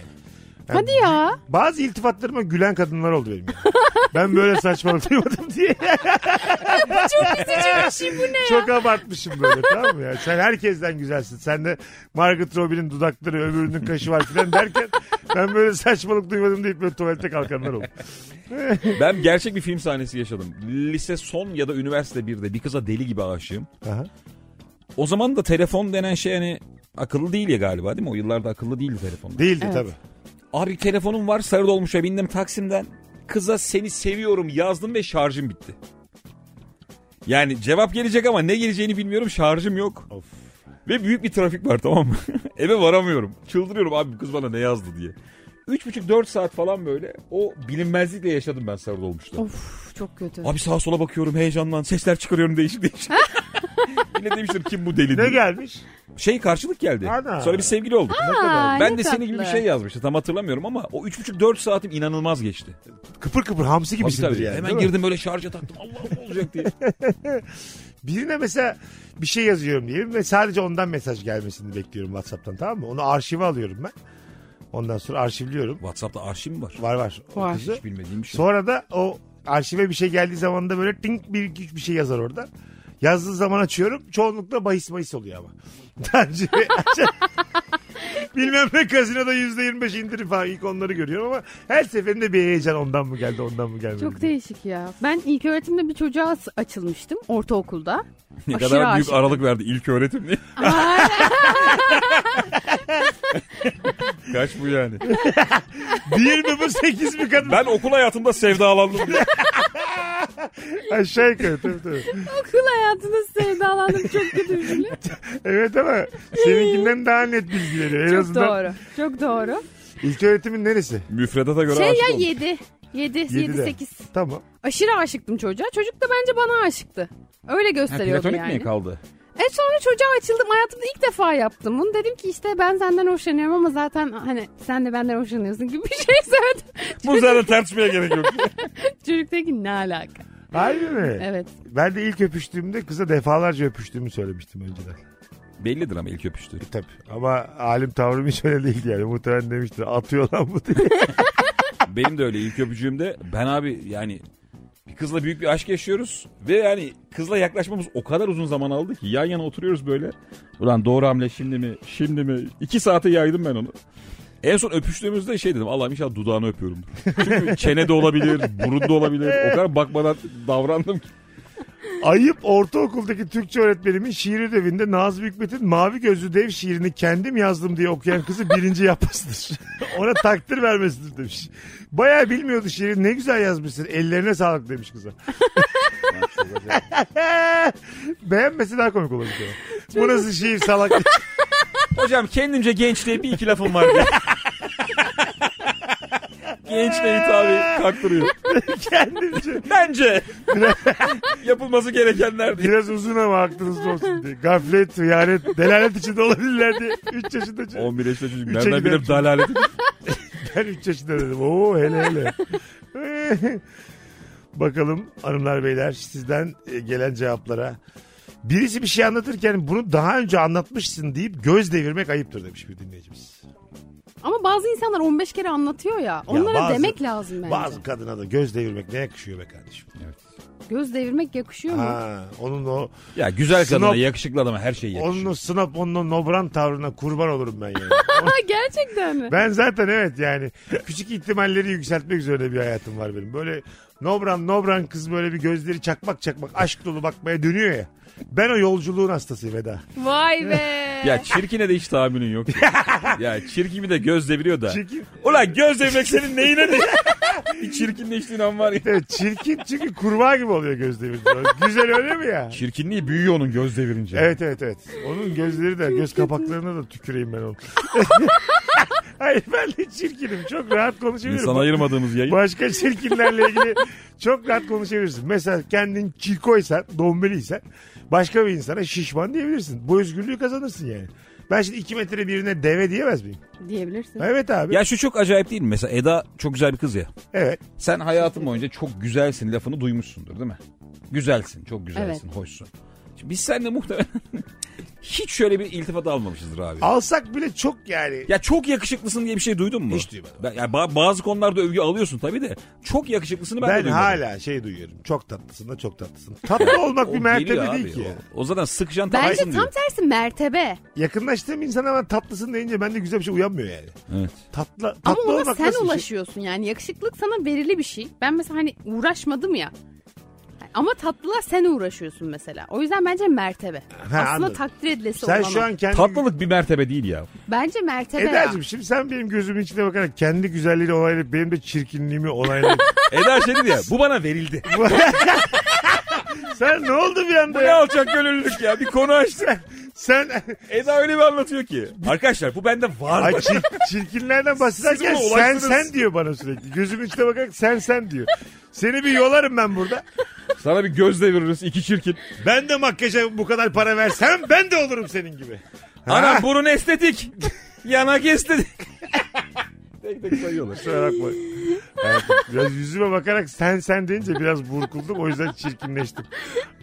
S2: Yani
S3: Hadi ya.
S2: Bazı iltifatlarıma gülen kadınlar oldu benim. yani. ben böyle saçmalık duymadım diye. çok üzücü şey, bu ne Çok abartmışım böyle tamam mı ya? Sen herkesten güzelsin. Sen de Margaret Robbie'nin dudakları öbürünün kaşı var filan derken ben böyle saçmalık duymadım deyip böyle tuvalete kalkanlar oldu.
S4: Ben gerçek bir film sahnesi yaşadım. Lise son ya da üniversite 1'de bir kıza deli gibi aşığım.
S2: Aha.
S4: O zaman da telefon denen şey hani akıllı değil ya galiba değil mi? O yıllarda akıllı değildi telefonlar.
S2: Değildi
S3: Evet.
S2: tabii.
S4: Abi telefonum var sarı dolmuşa bindim Taksim'den. Kıza seni seviyorum yazdım ve şarjım bitti. Yani cevap gelecek ama ne geleceğini bilmiyorum şarjım yok.
S2: Of.
S4: Ve büyük bir trafik var tamam mı? Eve varamıyorum. Çıldırıyorum abi bu kız bana ne yazdı diye. 3,5-4 saat falan böyle o bilinmezlikle yaşadım ben sarı dolmuşta.
S3: Of çok kötü.
S4: Abi sağa sola bakıyorum heyecandan sesler çıkarıyorum değişik değişik. Yine demiştim kim bu deli
S2: Ne
S4: diye.
S2: gelmiş?
S4: Şey karşılık geldi.
S2: Ana.
S4: Sonra bir sevgili olduk.
S3: Aa,
S4: ben
S3: ne
S4: de senin gibi bir
S3: tatlı.
S4: şey yazmıştım tam hatırlamıyorum ama o 3,5-4 saatim inanılmaz geçti.
S2: Kıpır kıpır hamsi
S4: Tabii
S2: gibisindir
S4: tabii.
S2: yani.
S4: Hemen
S2: değil mi?
S4: girdim böyle şarja taktım Allah ne olacak diye.
S2: Birine mesela bir şey yazıyorum diyelim ve sadece ondan mesaj gelmesini bekliyorum WhatsApp'tan tamam mı? Onu arşive alıyorum ben. Ondan sonra arşivliyorum.
S4: Whatsapp'ta arşiv mi var?
S2: Var var. o
S3: Var.
S2: kızı.
S4: Hiç bilmediğim bir şey.
S2: Sonra da o arşive bir şey geldiği zaman da böyle tink bir iki üç bir şey yazar orada. Yazdığı zaman açıyorum. Çoğunlukla bahis bahis oluyor ama. Daha önce- Bilmem ne kazinoda yüzde yirmi beş indirim falan ilk onları görüyorum ama her seferinde bir heyecan ondan mı geldi ondan mı gelmedi.
S3: Çok
S2: diye.
S3: değişik ya. Ben ilk öğretimde bir çocuğa as- açılmıştım ortaokulda.
S4: ne
S3: Aşırı
S4: kadar büyük
S3: aşıktım.
S4: aralık verdi ilk öğretim diye. Kaç bu yani?
S2: Bir mi bu sekiz mi kadın?
S4: Ben okul hayatımda sevdalandım diye.
S2: Aşağı yukarı tabii tabii.
S3: Okul hayatında sevdalandım çok kötü bir şey.
S2: Evet ama seninkinden daha net bilgileri. En
S3: Çok
S2: azından
S3: doğru. Çok doğru.
S2: ilk öğretimin neresi?
S4: Müfredata göre
S3: Şey
S4: aşık
S3: ya
S4: oldum.
S3: 7. 7, 7,
S2: Yedide.
S3: 8.
S2: Tamam.
S3: Aşırı aşıktım çocuğa. Çocuk da bence bana aşıktı. Öyle
S4: Ha,
S3: gösteriyordu
S4: platonik
S3: yani.
S4: mi kaldı?
S3: E sonra çocuğa açıldım. Hayatımda ilk defa yaptım bunu. Dedim ki işte ben senden hoşlanıyorum ama zaten hani sen de benden hoşlanıyorsun gibi bir şey söyledim.
S4: Bu zaten tartışmaya gerek yok.
S3: Çocuk dedi ki ne alaka?
S2: Harbi mi?
S3: Evet.
S2: Ben de ilk öpüştüğümde kıza defalarca öpüştüğümü söylemiştim önceden.
S4: Bellidir ama ilk öpüştü.
S2: Tabii. Ama alim tavrım hiç öyle değildi yani. Muhtemelen demiştir atıyor lan bu diye.
S4: Benim de öyle ilk öpücüğümde ben abi yani bir kızla büyük bir aşk yaşıyoruz ve yani kızla yaklaşmamız o kadar uzun zaman aldı ki yan yana oturuyoruz böyle. Ulan doğru hamle şimdi mi şimdi mi iki saate yaydım ben onu. En son öpüştüğümüzde şey dedim Allah'ım inşallah dudağını öpüyorum. Çünkü çene de olabilir, burun da olabilir. O kadar bakmadan davrandım ki.
S2: Ayıp ortaokuldaki Türkçe öğretmenimin şiir ödevinde Nazım Hikmet'in Mavi Gözlü Dev şiirini kendim yazdım diye okuyan kızı birinci yapmasıdır. Ona takdir vermesidir demiş. Bayağı bilmiyordu şiiri. Ne güzel yazmışsın. Ellerine sağlık demiş kıza. Beğenmesi daha komik olurdu. Bu nasıl şiir salak.
S4: Hocam kendimce gençliğe bir iki lafım var diye. Gençliğe hitabı kaktırıyor.
S2: Kendimce.
S4: Bence yapılması gerekenler diye.
S2: Biraz uzun ama aklınızda olsun diye. Gaflet, hıyanet, delalet içinde olabilirler diye. 3 yaşında çocuk.
S4: 11 yaşında çocuk
S2: Üçe
S4: nereden bilir
S2: gidermiş.
S4: dalalet
S2: Ben 3 yaşında dedim. Oo hele hele. Bakalım hanımlar beyler sizden e, gelen cevaplara. Birisi bir şey anlatırken bunu daha önce anlatmışsın deyip göz devirmek ayıptır demiş bir dinleyicimiz.
S3: Ama bazı insanlar 15 kere anlatıyor ya. Onlara
S2: bazı-
S3: demek lazım bence.
S2: Bazı kadına da göz devirmek ne yakışıyor be kardeşim.
S3: Göz devirmek yakışıyor mu?
S2: Ha, onun o
S4: Ya güzel kadına,
S2: Snop.
S4: yakışıklı adama her şey yakışıyor.
S2: onun o snap onun o nobran tavrına kurban olurum ben yani.
S3: Ha gerçekten mi?
S2: Ben zaten evet yani küçük ihtimalleri yükseltmek üzere bir hayatım var benim. Böyle nobran nobran kız böyle bir gözleri çakmak çakmak aşk dolu bakmaya dönüyor ya. Ben o yolculuğun hastasıyım Eda.
S3: Vay be.
S4: Ya çirkine de hiç tahammülün yok. ya çirkimi de göz deviriyor da.
S2: Çirkin,
S4: Ulan göz devirmek senin neyine de? bir çirkinleştiğin an var ya.
S2: evet, çirkin çünkü kurbağa gibi oluyor gözleri. Güzel öyle mi ya?
S4: Çirkinliği büyüyor onun göz devirince.
S2: Evet evet evet. Onun gözleri de göz kapaklarına da tüküreyim ben onu. Hayır ben de çirkinim. Çok rahat konuşabilirim.
S4: İnsan ayırmadığımız yayın.
S2: Başka çirkinlerle ilgili çok rahat konuşabilirsin. Mesela kendin çirkoysan, dombeliysen başka bir insana şişman diyebilirsin. Bu özgürlüğü kazanırsın yani. Ben şimdi 2 metre birine deve diyemez miyim?
S3: diyebilirsin.
S2: Evet abi.
S4: Ya şu çok acayip değil mi? Mesela Eda çok güzel bir kız ya.
S2: Evet.
S4: Sen hayatın boyunca çok güzelsin lafını duymuşsundur değil mi? Güzelsin, çok güzelsin, hoşsun. Şimdi biz seninle muhtemelen hiç şöyle bir iltifat almamışızdır abi.
S2: Alsak bile çok yani.
S4: Ya çok yakışıklısın diye bir şey duydun mu?
S2: Hiç duymadım.
S4: Ben- ya ba- bazı konularda övgü alıyorsun tabii de çok yakışıklısını ben, de
S2: ben
S4: duymadım.
S2: hala şey duyuyorum. Çok tatlısın da çok tatlısın. Tatlı olmak bir
S4: O
S2: mertebe
S4: geliyor
S2: değil
S4: abi,
S2: ki. ya.
S4: O, o zaten sıkışan
S3: Bence
S4: tatlısın
S3: tam
S4: diyor.
S3: tersi mertebe.
S2: Yakınlaştığım insan ama tatlısın deyince bende güzel bir şey uyanmıyor yani.
S4: Evet.
S2: Tatlı,
S3: Ama
S2: tatlı
S3: ona
S2: olmak
S3: sen
S2: nasıl bir şey?
S3: ulaşıyorsun yani. Yakışıklık sana verili bir şey. Ben mesela hani uğraşmadım ya. Ama tatlılığa sen uğraşıyorsun mesela. O yüzden bence mertebe. Aslında
S2: anladım.
S3: takdir edilesi
S2: Sen
S3: olan
S2: şu
S3: o.
S2: an kendi...
S4: Tatlılık bir mertebe değil ya.
S3: Bence mertebe ya.
S2: Eda'cığım şimdi sen benim gözümün içine bakarak kendi güzelliğini onaylayıp benim de çirkinliğimi onaylayıp.
S4: Eda şey dedi ya bu bana verildi.
S2: sen ne oldu bir
S4: Bu
S2: anda
S4: ne
S2: ya?
S4: alçak gönüllülük ya bir konu açtı.
S2: Sen
S4: Eda öyle bir anlatıyor ki. Arkadaşlar bu bende var.
S2: Ay çir- çirkinlerden bahsederken
S4: Siz buna
S2: sen
S4: ulaştınız.
S2: sen diyor bana sürekli. Gözümün içine bakarak sen sen diyor. Seni bir yolarım ben burada.
S4: Sana bir göz deviririz iki çirkin.
S2: Ben de makyaja bu kadar para versem ben de olurum senin gibi.
S4: Ana burun estetik. Yanak estetik. tek tek sayıyorlar.
S2: Kusura bakma. Hayatım, biraz yüzüme bakarak sen sen deyince biraz burkuldum o yüzden çirkinleştim.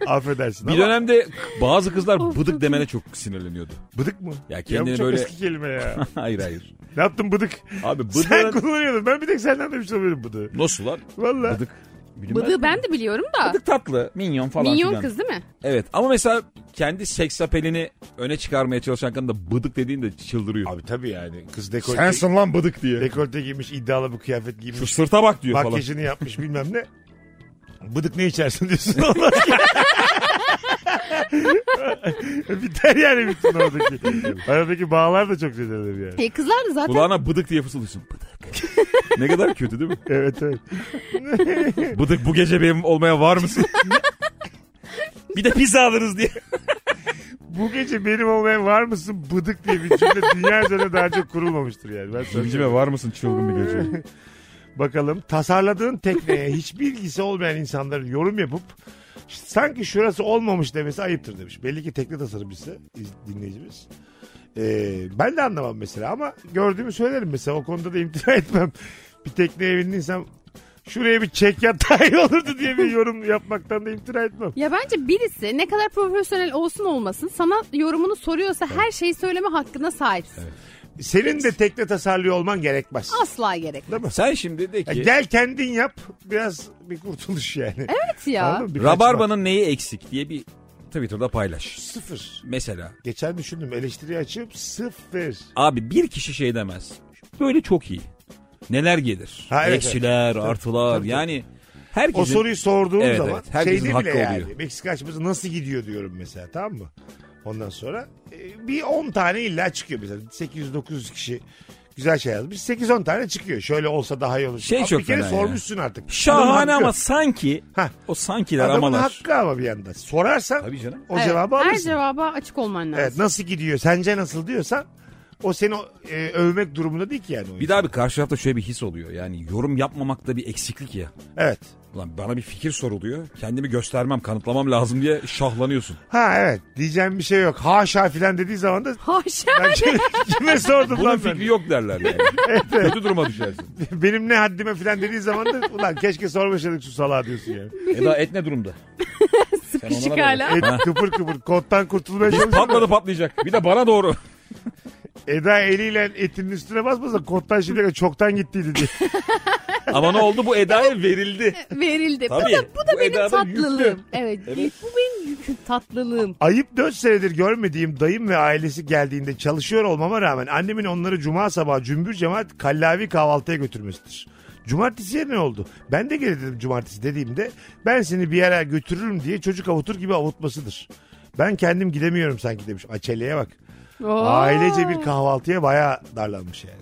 S2: Affedersin
S4: Bir
S2: ama
S4: dönemde bazı kızlar
S3: Of,
S4: bıdık demene çok sinirleniyordu.
S2: bıdık mı?
S4: Ya
S2: Ya bu
S4: kendini
S2: çok
S4: böyle...
S2: eski kelime ya.
S4: hayır hayır.
S2: Ne yaptın bıdık?
S4: Abi
S2: Sen
S4: bıdık...
S2: kullanıyordun. Ben bir tek senden demiş olabilirim bıdığı.
S4: Nasıl lan?
S2: Valla.
S4: Bıdık. Bilmem.
S3: Bıdığı ben de biliyorum da.
S4: Bıdık tatlı. Minyon falan
S3: Minyon
S4: filan.
S3: kız değil mi?
S4: Evet ama mesela kendi seks apelini öne çıkarmaya çalışan kadın da bıdık dediğinde çıldırıyor.
S2: Abi tabii yani. Kız dekolte,
S4: lan bıdık diye.
S2: dekolte giymiş, iddialı bir kıyafet giymiş.
S4: Şu sırta bak diyor falan.
S2: Makyajını yapmış bilmem ne. Bıdık ne içersin diyorsun. Allah Biter yani bütün oradaki. Aradaki bağlar da çok zedelenir yani.
S3: E, kızlar da zaten
S4: Kulağına bıdık diye fısıldıyorsun. Bıdık. ne kadar kötü değil mi?
S2: Evet evet.
S4: Bıdık bu gece benim olmaya var mısın? bir de pizza alırız diye.
S2: Bu gece benim olmaya var mısın bıdık diye bir cümle dünya üzerinde daha çok kurulmamıştır yani. Ben sana söyleyeyim.
S4: var mısın çılgın bir gece?
S2: Bakalım tasarladığın tekneye hiçbir ilgisi olmayan insanların yorum yapıp sanki şurası olmamış demesi ayıptır demiş. Belli ki tekne tasarımcısı iz- dinleyicimiz. Ee, ben de anlamam mesela ama gördüğümü söylerim mesela o konuda da imtina etmem. Bir tekneye bindiysem şuraya bir çek yat daha iyi olurdu diye bir yorum yapmaktan da imtina etmem.
S3: Ya bence birisi ne kadar profesyonel olsun olmasın sana yorumunu soruyorsa her şeyi söyleme hakkına sahipsin.
S2: Senin de tekne tasarlıyor olman gerekmez.
S3: Asla gerek.
S4: Sen şimdi de
S2: Ya
S4: ki
S2: gel kendin yap biraz bir kurtuluş yani.
S3: Evet ya.
S2: Anladın mı? Bir kaçmak.
S4: Rabarba'nın neyi eksik diye bir Twitter'da paylaş.
S2: sıfır.
S4: Mesela
S2: Geçen düşündüm eleştiri açıp sıfır.
S4: abi bir kişi şey demez. Böyle çok iyi. Neler gelir?
S2: Ha, evet,
S4: Eksiler,
S2: evet.
S4: artılar
S2: Tabii, tabii.
S4: yani
S2: O
S4: herkesin
S2: soruyu sorduğum
S4: Evet,
S2: zaman
S4: evet. Herkesin
S2: şeyde
S4: hakkı
S2: bile yani
S4: oluyor.
S2: Meksika açması nasıl gidiyor diyorum mesela tamam mı? Ondan sonra e, bir 10 tane illa çıkıyor mesela 800-900 kişi güzel şey yazmış 8-10 tane çıkıyor şöyle olsa daha iyi olur.
S4: Şey
S2: Ama
S4: çok
S2: bir kere
S4: fena ya.
S2: sormuşsun artık.
S4: şahane
S2: Adamın
S4: ama
S2: hakkı.
S4: sanki
S2: Hah.
S4: o sankiler
S2: Adamın
S4: amalar.
S2: hakkı ama bir yandan. Sorarsan
S4: Tabii canım.
S2: o
S3: Evet,
S2: cevabı
S3: Her
S2: alırsın.
S3: cevaba açık olman lazım.
S2: Evet, nasıl gidiyor sence nasıl diyorsan o seni e, övmek durumunda değil ki yani. o
S4: Bir
S2: insan.
S4: daha bir karşı tarafta şöyle bir his oluyor. Yani yorum yapmamakta bir eksiklik ya.
S2: Evet.
S4: Ulan bana bir fikir soruluyor. Kendimi göstermem, kanıtlamam lazım diye şahlanıyorsun.
S2: Ha evet diyeceğim bir şey yok. Haşa filan dediği zaman da
S3: Haşa.
S2: ben şey- kime sordum
S4: Bunun
S2: lan ben?
S4: fikri yok derler yani. Kötü duruma düşersin.
S2: benim ne haddime filan dediği zaman da ulan keşke sormasaydık şu salağı diyorsun yani.
S4: Eda et ne durumda?
S3: Sıkışık
S4: bak.
S3: hala.
S2: Ed, kıpır kıpır kottan kurtulmaya çalışıyor.
S4: Patladı patlayacak. Bir de bana doğru.
S2: Eda eliyle etinin üstüne basmasa kottan şimdi kadar çoktan gittiydi diye.
S4: Ama ne oldu? Bu Eda'ya verildi.
S3: Verildi.
S4: Tabii.
S3: Bu da, bu da
S4: Bu
S3: benim
S4: Eda'da yüklü.
S3: tatlılığım. Evet,
S4: Evet.
S3: Bu benim yüküm tatlılığım.
S2: Ayıp 4 senedir görmediğim dayım ve ailesi geldiğinde çalışıyor olmama rağmen annemin onları cuma sabahı cümbür cemaat kallavi kahvaltıya götürmesidir. Cumartesiye ne oldu? Ben de gel dedim cumartesi dediğimde ben seni bir yere götürürüm diye çocuk avutur gibi avutmasıdır. Ben kendim gidemiyorum sanki demiş. Aceleye bak.
S3: Oo.
S2: Ailece bir kahvaltıya bayağı darlanmış yani.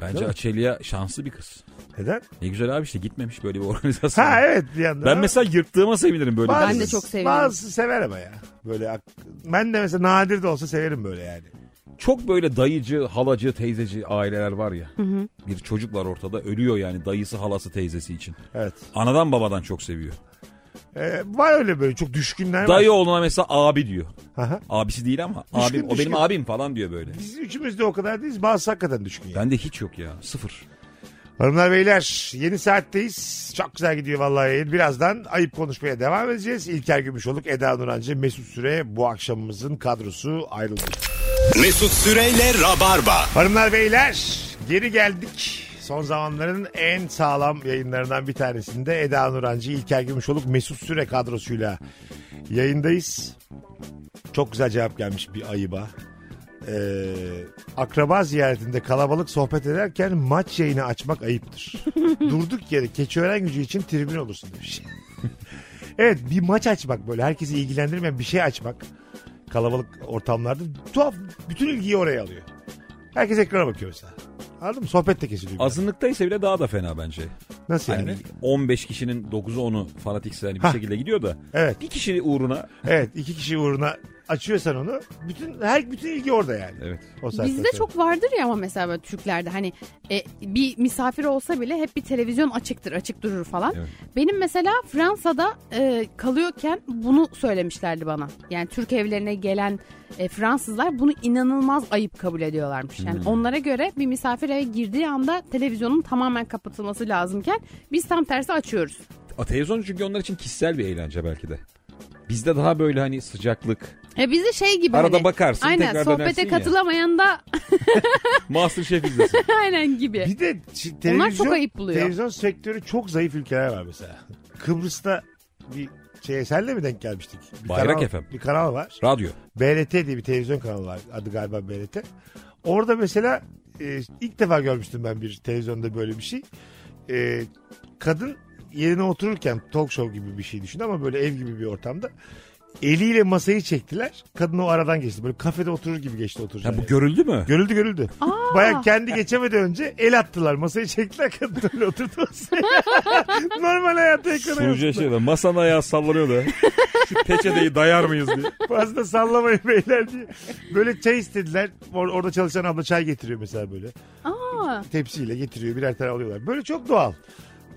S4: Bence Açelya şanslı bir kız.
S2: Neden?
S4: Ne güzel abi işte gitmemiş böyle bir organizasyon.
S2: Ha evet bir yandan.
S4: Ben
S2: ama
S4: mesela yırttığıma sevinirim böyle.
S2: bazı-
S4: bir
S3: Ben de
S4: kızı.
S3: çok seviyorum.
S2: Bazısı sever ama ya. Böyle ak- ben de mesela nadir de olsa severim böyle yani.
S4: Çok böyle dayıcı, halacı, teyzeci aileler var ya. Bir çocuk var ortada ölüyor yani dayısı, halası, teyzesi için.
S2: Evet.
S4: Anadan babadan çok seviyor.
S2: Ee, var öyle böyle çok düşkünler var.
S4: Dayı oğluna mesela abi diyor.
S2: Aha.
S4: Abisi değil ama.
S2: Düşkün,
S4: abim, O
S2: düşkün.
S4: benim abim falan diyor böyle.
S2: Biz üçümüz de o kadar değiliz. Bazısı hakikaten düşkün yani.
S4: Bende hiç yok ya. Sıfır.
S2: Hanımlar beyler yeni saatteyiz. Çok güzel gidiyor vallahi yayın. Birazdan ayıp konuşmaya devam edeceğiz. İlker Gümüşoluk, Eda Nurancı, Mesut Süre bu akşamımızın kadrosu ayrıldı.
S1: Mesut Süreyle Rabarba.
S2: Hanımlar beyler geri geldik. Son zamanların en sağlam yayınlarından bir tanesinde Eda Nurancı, İlker Gümüşoluk, Mesut Süre kadrosuyla yayındayız. Çok güzel cevap gelmiş bir ayıba. Ee, akraba ziyaretinde kalabalık sohbet ederken maç yayını açmak ayıptır. Durduk yere Keçiören gücü için tribün olursun demiş. evet bir maç açmak böyle herkesi ilgilendirmeyen bir şey açmak kalabalık ortamlarda tuhaf bütün ilgiyi oraya alıyor. Herkes ekrana bakıyor mesela. Anladın mı? Sohbet de kesiliyor.
S4: Azınlıktaysa bile daha da fena bence.
S2: Nasıl yani?
S4: Yani 15 kişinin 9'u 10'u fanatikse hani bir
S2: Hah.
S4: şekilde gidiyor da.
S2: Evet.
S4: Bir kişi uğruna.
S2: Evet iki kişi uğruna açıyorsan onu bütün her bütün ilgi orada yani.
S4: Evet.
S2: O saatten
S3: Bizde
S2: sonra.
S3: çok vardır ya ama mesela böyle Türklerde hani e, bir misafir olsa bile hep bir televizyon açıktır, açık durur falan.
S4: Evet.
S3: Benim mesela Fransa'da e, kalıyorken bunu söylemişlerdi bana. Yani Türk evlerine gelen e, Fransızlar bunu inanılmaz ayıp kabul ediyorlarmış. Yani
S4: Hmm.
S3: onlara göre bir misafir eve girdiği anda televizyonun tamamen kapatılması lazımken biz tam tersi açıyoruz.
S4: A, Televizyon çünkü onlar için kişisel bir eğlence belki de. Bizde daha böyle hani sıcaklık.
S3: E bizde şey gibi
S4: Arada
S3: hani,
S4: bakarsın,
S3: Aynen
S4: tekrar dönersin
S3: sohbete
S4: ya.
S3: katılamayan da
S4: Masterchef izlesin.
S3: aynen gibi.
S2: Bir de şi- televizyon,
S3: çok ayıp buluyor.
S2: Televizyon sektörü çok zayıf ülkeler var mesela. Kıbrıs'ta bir şey senle mi denk gelmiştik? Bir
S4: Bayrak
S2: kanal,
S4: FM.
S2: Bir kanal var.
S4: Radyo.
S2: BRT diye bir televizyon kanalı var. Adı galiba BRT. Orada mesela e, ilk defa görmüştüm ben bir televizyonda böyle bir şey. E, kadın yerine otururken talk show gibi bir şey düşün ama böyle ev gibi bir ortamda. Eliyle masayı çektiler. Kadın o aradan geçti. Böyle kafede oturur gibi geçti oturacağı.
S4: Ha, bu
S2: yere.
S4: görüldü mü?
S2: Görüldü görüldü.
S3: Aa.
S2: Baya kendi geçemeden önce el attılar. Masayı çektiler kadın öyle oturdu masaya. Normal hayata ekrana
S4: Sunucuya
S2: yansıdı.
S4: şey diyor, Masanın ayağı sallanıyor da. Şu peçeteyi dayar mıyız diye.
S2: Fazla sallamayın beyler diye. Böyle çay istediler. Or- orada çalışan abla çay getiriyor mesela böyle.
S3: Aa,
S2: Tepsiyle getiriyor birer tane alıyorlar. Böyle çok doğal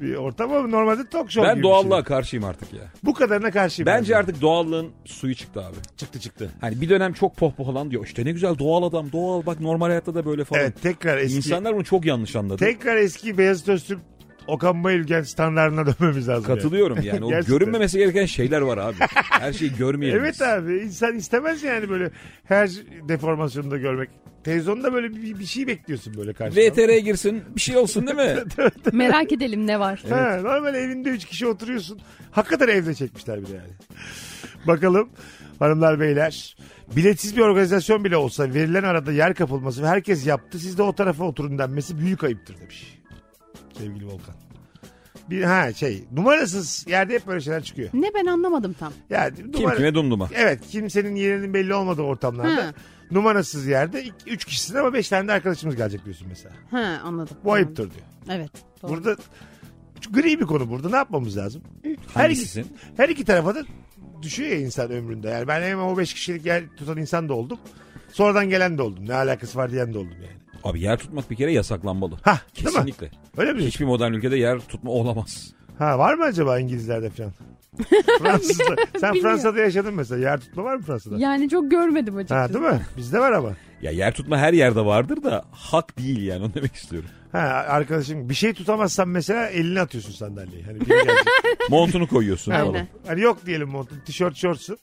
S2: bir ortam ama normalde talk show gibi
S4: Ben
S2: bir şey.
S4: doğallığa karşıyım artık ya.
S2: Bu kadarına karşıyım.
S4: Bence
S2: ben.
S4: artık doğallığın suyu çıktı abi.
S2: çıktı çıktı.
S4: Hani bir dönem çok pohpohlan diyor. İşte ne güzel doğal adam doğal bak normal hayatta da böyle falan.
S2: Evet tekrar eski.
S4: İnsanlar bunu çok yanlış anladı.
S2: Tekrar eski Beyazıt Öztürk Okan Bayülgen standartına dönmemiz lazım. yani.
S4: Katılıyorum yani. O
S2: Gerçekten.
S4: görünmemesi gereken şeyler var abi. Her şeyi görmeyelim.
S2: Evet
S4: biz.
S2: abi insan istemez yani böyle her deformasyonu da görmek. Televizyonda böyle bir, bir şey bekliyorsun böyle karşıdan.
S4: VTR'ye girsin bir şey olsun değil mi?
S3: merak edelim ne var.
S2: Ha, normal evinde 3 kişi oturuyorsun. Hakikaten evde çekmişler bir de yani. Bakalım hanımlar beyler. Biletsiz bir organizasyon bile olsa verilen arada yer kapılması ve herkes yaptı siz de o tarafa oturun denmesi büyük ayıptır demiş. Sevgili Volkan. Bir ha şey numarasız yerde hep böyle şeyler çıkıyor.
S3: Ne ben anlamadım tam.
S2: Yani
S4: Kim
S2: numara-
S4: kime dumduma.
S2: Evet kimsenin yerinin belli olmadığı ortamlarda
S3: Ha.
S2: numarasız yerde 3 kişisin ama 5 tane de arkadaşımız gelecek diyorsun mesela.
S3: Ha anladım.
S2: Bu ayıptır diyor.
S3: Evet. doğru.
S2: Burada şu gri bir konu burada ne yapmamız lazım? Her iki,
S4: Hangisisin?
S2: her iki tarafa da düşüyor ya insan ömründe. Yani ben hem o 5 kişilik yer tutan insan da oldum. Sonradan gelen de oldum. Ne alakası var diyen de oldum yani.
S4: Abi yer tutmak bir kere yasaklanmalı.
S2: Hah, değil mi?
S4: Kesinlikle.
S2: Öyle mi?
S4: Hiçbir modern ülkede yer tutma olamaz.
S2: Ha var mı acaba İngilizlerde falan? Fransızda. Sen
S3: Bilmiyorum.
S2: Fransa'da yaşadın mesela. Yer tutma var mı Fransa'da?
S3: Yani çok görmedim açıkçası.
S2: Ha değil mi? Bizde var ama.
S4: Ya yer tutma her yerde vardır da hak değil yani onu demek istiyorum.
S2: Ha arkadaşım bir şey tutamazsan mesela elini atıyorsun sandalyeye. Hani biri gelecek.
S4: Montunu koyuyorsun
S3: Aynen.
S4: falan.
S2: Hani yok diyelim montun tişört şortsun.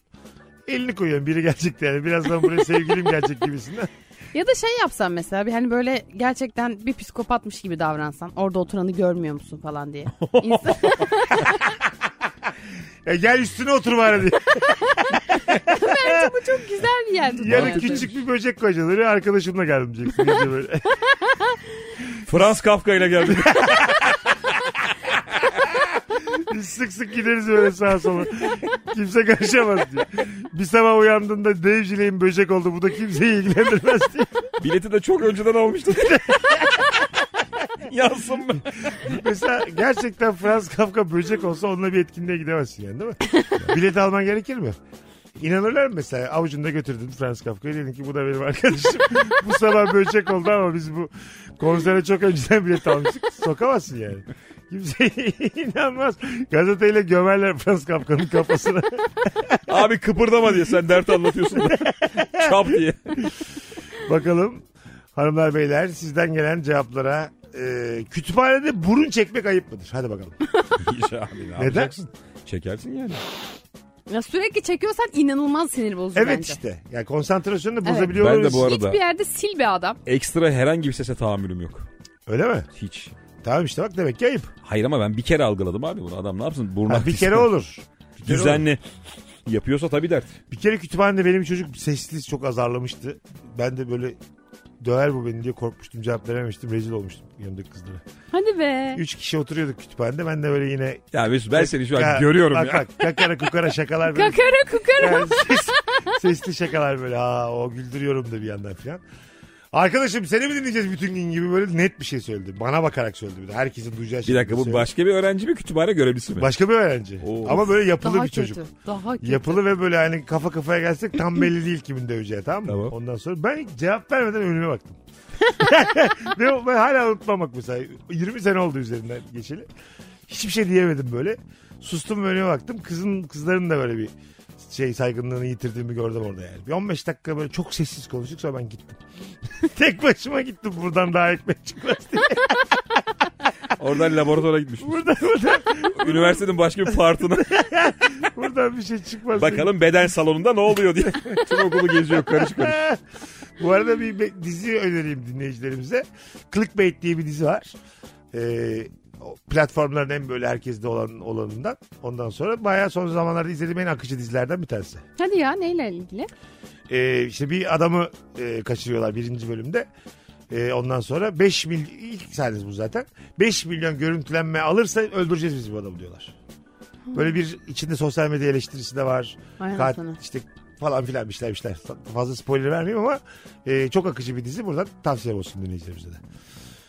S2: Elini koyuyorsun biri gelecek diye. Yani birazdan buraya sevgilim gelecek gibisinden.
S3: Ya da şey yapsan mesela bir hani böyle gerçekten bir psikopatmış gibi davransan. Orada oturanı görmüyor musun falan diye. İnsan-
S2: E gel üstüne otur bari diye.
S3: Bu çok güzel bir yer.
S2: Yarın küçük bir böcek koyacaksın. Öyle arkadaşımla geldim diyeceksin. Gece böyle.
S4: Frans Kafka ile geldi.
S2: Biz sık sık gideriz böyle sağa sola. Kimse karışamaz diye. Bir sabah uyandığında devcileğin böcek oldu. Bu da kimseyi ilgilendirmez diye.
S4: Bileti de çok önceden almıştım. Yansın mı?
S2: Mesela gerçekten Frans Kafka böcek olsa onunla bir etkinliğe gidemezsin yani değil mi? Bilet alman gerekir mi? İnanırlar mı mesela avucunda götürdün Frans Kafka'yı dedin ki bu da benim arkadaşım. bu sabah böcek oldu ama biz bu konsere çok önceden bilet almıştık. Sokamazsın yani. Kimse inanmaz. Gazeteyle gömerler Frans Kafka'nın kafasına.
S4: Abi kıpırdama diye sen dert anlatıyorsun da. Çap diye.
S2: Bakalım hanımlar beyler sizden gelen cevaplara e, kütüphanede burun çekmek ayıp mıdır? Hadi bakalım.
S4: Ya abi ne yapacaksın? Çekersin yani.
S3: Ya sürekli çekiyorsan inanılmaz sinir bozucu
S2: Evet
S3: bence.
S2: işte. Yani konsantrasyonu
S3: Evet.
S2: bozabiliyor
S4: Ben de
S2: olabilirsin.
S4: bu arada-
S3: Hiçbir yerde sil be adam.
S4: Ekstra herhangi bir sese tahammülüm yok.
S2: Öyle mi?
S4: Hiç.
S2: Tamam işte bak demek ki ayıp.
S4: Hayır ama ben bir kere algıladım abi bunu. Adam ne yapsın? Burnu
S2: Ha, bir kere olur. Bir kere olur.
S4: Düzenli yapıyorsa tabii dert.
S2: Bir kere kütüphanede benim çocuk sesli çok azarlamıştı. Ben de böyle döver bu beni diye korkmuştum cevap verememiştim rezil olmuştum yanındaki kızlara.
S3: Hadi be.
S2: Üç kişi oturuyorduk kütüphanede ben de böyle yine
S4: Ya Mesut ben seni şu an
S2: Ya,
S4: görüyorum
S2: bak,
S4: ya.
S2: Bak kakara kukara şakalar böyle.
S3: Kakara kukara.
S2: Yani ses- sesli şakalar böyle ha o güldürüyorum da bir yandan filan. Arkadaşım seni mi dinleyeceğiz bütün gün gibi böyle net bir şey söyledi. Bana bakarak söyledi bir de. Herkesin duyacağı şey.
S4: Bir dakika bu başka bir öğrenci mi kütüphane görevlisi mi?
S2: Başka bir öğrenci.
S4: Oo.
S2: Ama böyle yapılı
S3: Daha
S2: bir
S3: kötü.
S2: çocuk.
S3: Daha kötü.
S2: Yapılı ve böyle hani kafa kafaya gelsek tam belli değil kimin döveceği tamam mı?
S4: Tamam.
S2: Ondan sonra ben hiç cevap vermeden önüme baktım. ve o- ben hala unutmamak mesela. 20 sene oldu üzerinden geçeli. Hiçbir şey diyemedim böyle. Sustum ve önüme baktım. Kızın kızların da böyle bir şey saygınlığını yitirdiğimi gördüm orada yani. Bir 15 dakika böyle çok sessiz konuştuk sonra ben gittim. Tek başıma gittim buradan daha ekmek çıkmaz diye.
S4: Oradan laboratuvara gitmiş.
S2: Buradan, buradan,
S4: Üniversitenin başka bir partına.
S2: buradan bir şey çıkmaz diye.
S4: Bakalım beden salonunda ne oluyor diye. Tüm okulu geziyor karışık karışık.
S2: Bu arada bir be- dizi önereyim dinleyicilerimize. Clickbait diye bir dizi var. Ee, o platformların en böyle herkeste olan olanından. Ondan sonra bayağı son zamanlarda izlediğim en akıcı dizilerden bir tanesi.
S3: Hadi ya neyle ilgili?
S2: Ee, işte bir adamı e, kaçırıyorlar birinci bölümde. Ee, ondan sonra 5 milyon ilk sahnesi bu zaten. 5 milyon görüntülenme alırsa öldüreceğiz biz bu adamı diyorlar. Böyle bir içinde sosyal medya eleştirisi de var.
S3: Ay
S2: Kat,
S3: anasını.
S2: işte falan filan bir şeyler bir şeyler. Fazla spoiler vermeyeyim ama e, çok akıcı bir dizi. Buradan tavsiye olsun dinleyicilerimize de.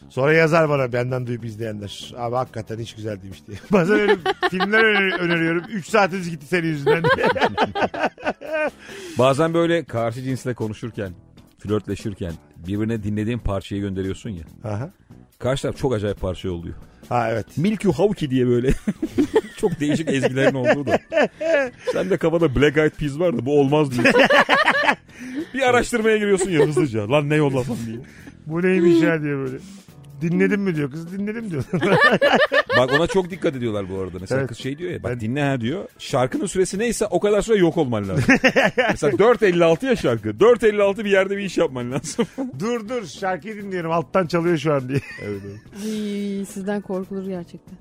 S2: Sonra yazar bana benden duyup izleyenler. Abi hakikaten hiç güzel değilmiş diye. Bazen öyle filmler öner- öneriyorum. 3 saatiniz gitti senin yüzünden diye.
S4: Bazen böyle karşı cinsle konuşurken, flörtleşirken birbirine dinlediğin parçayı gönderiyorsun ya.
S2: Aha.
S4: Karşı taraf çok acayip parça yolluyor.
S2: Ha evet.
S4: Milky Hawk'i diye böyle çok değişik ezgilerin olduğu da. Sen de kafada Black Eyed Peas var da bu olmaz diyorsun. bir araştırmaya giriyorsun ya hızlıca. Lan ne yollasam diye.
S2: Bu neymiş ya diye böyle. Dinledim mi diyor kız dinledim diyor.
S4: Bak ona çok dikkat ediyorlar bu arada. Mesela
S2: Evet.
S4: kız şey diyor ya bak
S2: Ben-
S4: dinle ha diyor. Şarkının süresi neyse o kadar süre yok olman lazım. Mesela 4.56 ya şarkı. 4.56 bir yerde bir iş yapman lazım.
S2: dur dur şarkıyı dinliyorum alttan çalıyor şu an diye.
S3: Ay, sizden korkulur gerçekten.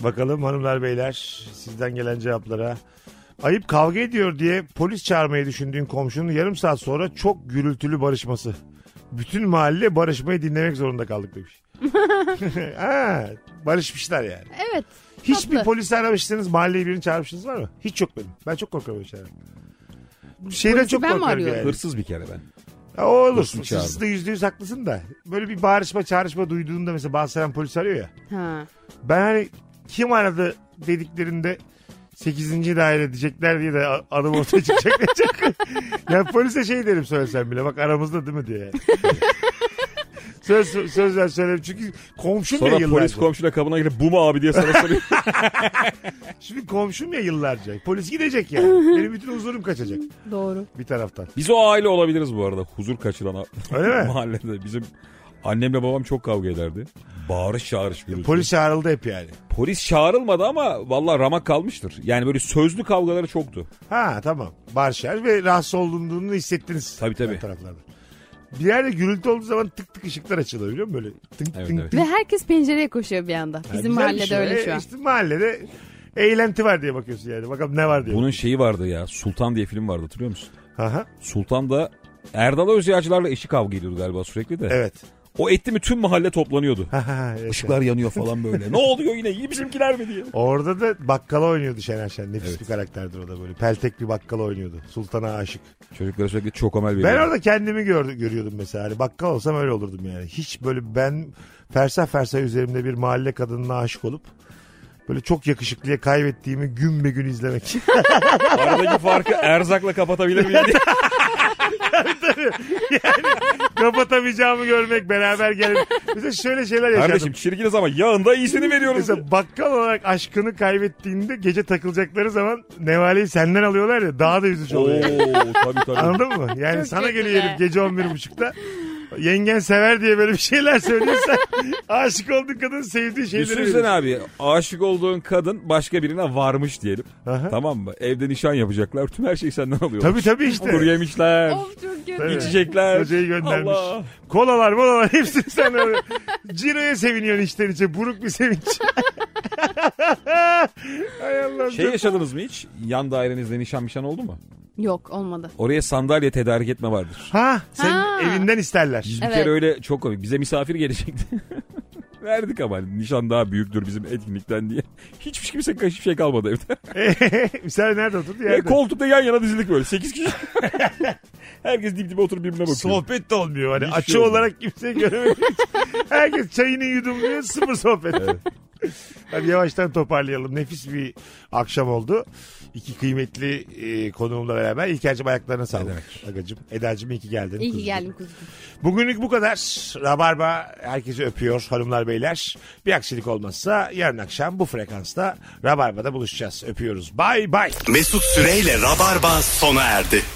S2: Bakalım hanımlar beyler sizden gelen cevaplara. Ayıp kavga ediyor diye polis çağırmayı düşündüğün komşunun yarım saat sonra çok gürültülü barışması. Bütün mahalle barışmayı dinlemek zorunda kaldık demiş. ha, barışmışlar yani.
S3: Evet.
S2: Hiç bir
S3: Tatlı.
S2: polisi aramışsınız mahalleye birini çağırmışsınız var mı? Hiç yok benim. Ben çok korkarım öyle şeylerden. Şeyden
S3: Polisi
S2: çok
S3: ben mi
S2: korkarım
S3: arıyorum?
S2: yani.
S4: Hırsız bir kere ben.
S2: Ya o olur.
S4: Hırsız çağırdı.
S2: Siz de yüzde yüz haklısın da. Böyle bir bağırışma çağrışma duyduğunda mesela bazı seven polis arıyor ya.
S3: Ha.
S2: Ben hani kim aradı dediklerinde 8. daire diyecekler diye de a- adım ortaya çıkacak. diyecek. ya polise şey derim söylesem bile bak aramızda değil mi diye. yani. söz, söz ver söylerim çünkü komşum ya
S4: Sonra
S2: yıllarca.
S4: polis komşuyla kabına girip bu mu abi diye sana soruyor.
S2: Şimdi komşum ya yıllarca. Polis gidecek yani. Benim bütün huzurum kaçacak
S3: Doğru.
S2: bir taraftan.
S4: Biz o aile olabiliriz bu arada. Huzur kaçıran
S2: Öyle mi?
S4: mahallede. Bizim annemle babam çok kavga ederdi. Bağırış çağırış gürültü.
S2: E, Polis çağrıldı hep yani.
S4: Polis çağrılmadı ama valla ramak kalmıştır. Yani böyle sözlü kavgaları çoktu.
S2: Ha tamam. Barşer ve rahatsız olunduğunu hissettiniz.
S4: Tabii, tabii.
S2: Her Taraflarda. Bir yerde gürültü olduğu zaman tık tık ışıklar açılıyor biliyor musun? Böyle tink
S4: Evet,
S2: tink
S4: evet.
S2: tink.
S3: Ve herkes pencereye koşuyor bir anda.
S2: Yani
S3: Bizim
S2: güzel
S3: mahallede
S2: bir şey.
S3: öyle
S2: E,
S3: şu an.
S2: İşte mahallede eğlenti var diye bakıyorsun yani. Bakalım ne var diye.
S4: Bunun şeyi vardı ya. Sultan diye film vardı hatırlıyor musun?
S2: Aha,
S4: Sultan da Erdal Özyağcılar'la eşi kavga ediyordu galiba sürekli de.
S2: evet.
S4: O etti mi tüm mahalle toplanıyordu.
S2: Aha, evet.
S4: Işıklar yanıyor falan böyle. ne oluyor yine? Yine bizimkiler mi diye.
S2: Orada da bakkala oynuyordu Şener Şen. Nefis
S4: Evet.
S2: bir karakterdir o da böyle. Peltek bir bakkala oynuyordu. Sultan'a aşık.
S4: Çocuklara sürekli çok amel
S2: Ben
S4: veriyor.
S2: orada kendimi gördü, görüyordum mesela. Hani bakkal olsam öyle olurdum yani. Hiç böyle ben fersah fersah üzerimde bir mahalle kadınına aşık olup Böyle çok yakışıklıya kaybettiğimi gün be gün izlemek.
S4: Aradaki farkı erzakla kapatabilir miyim diye.
S2: Kapatamayacağımı görmek beraber gelin. Mesela şöyle şeyler yaşadım.
S4: Kardeşim çirkiniz ama yağında iyisini veriyoruz.
S2: Mesela bakkal olarak aşkını kaybettiğinde gece takılacakları zaman nevaleyi senden alıyorlar ya daha da üzücü
S4: Oo,
S2: oluyor.
S4: tabii tabii.
S2: Anladın mı? Yani
S3: Çok
S2: sana
S3: kötü
S2: geliyor
S3: be.
S2: herif gece 11.30'da. Yengen sever diye böyle bir şeyler söylüyorsan aşık olduğun kadın sevdiği şeyleri
S4: Düşünsene
S2: veriyorsun.
S4: abi aşık olduğun kadın başka birine varmış diyelim.
S2: Aha.
S4: Tamam mı? Evde nişan yapacaklar. Tüm her şeyi senden alıyorlar.
S2: Tabii tabii işte.
S4: Kur yemişler.
S3: Of çok
S2: Tabii.
S3: kötü.
S4: içecekler.
S2: Hocayı göndermiş.
S4: Allah.
S2: Kolalar molalar hepsini sen alıyorsun. Ciro'ya seviniyorsun içten içe. Buruk bir sevinç. Hay Allah'ım.
S4: Şey yaşadınız mı hiç? Yan dairenizde nişan mişan oldu mu?
S3: Yok olmadı.
S4: Oraya sandalye tedarik etme vardır.
S2: Ha senin
S3: Ha.
S2: evinden isterler.
S4: Biz
S3: Evet.
S4: bir kere öyle çok komik. Bize misafir gelecekti. Verdik ama hani nişan daha büyüktür bizim etkinlikten diye. Hiçbir kimse hiçbir şey kalmadı evde.
S2: Misal nerede oturdu?
S4: Ve
S2: Yerde.
S4: koltukta yan yana dizildik böyle. 8 kişi. Herkes dip dibe oturup birbirine bakıyor.
S2: Sohbet de olmuyor. Hani
S4: Hiçbir
S2: açı
S4: şey olmuyor.
S2: olarak kimse göremiyor. Herkes çayını yudumluyor. Sıfır sohbet. Hadi yavaştan toparlayalım. Nefis bir akşam oldu. İki kıymetli e, konuğumla beraber. İlker'cim ayaklarına sağlık. Agacım. Eda'cım iyi ki geldin.
S3: İyi ki
S2: Kuzucuğum.
S3: geldin kuzum.
S2: Bugünlük bu kadar. Rabarba herkesi öpüyor hanımlar beyler. Bir aksilik olmazsa yarın akşam bu frekansta Rabarba'da buluşacağız. Öpüyoruz. Bay bay.
S1: Mesut Süreyle Rabarba sona erdi.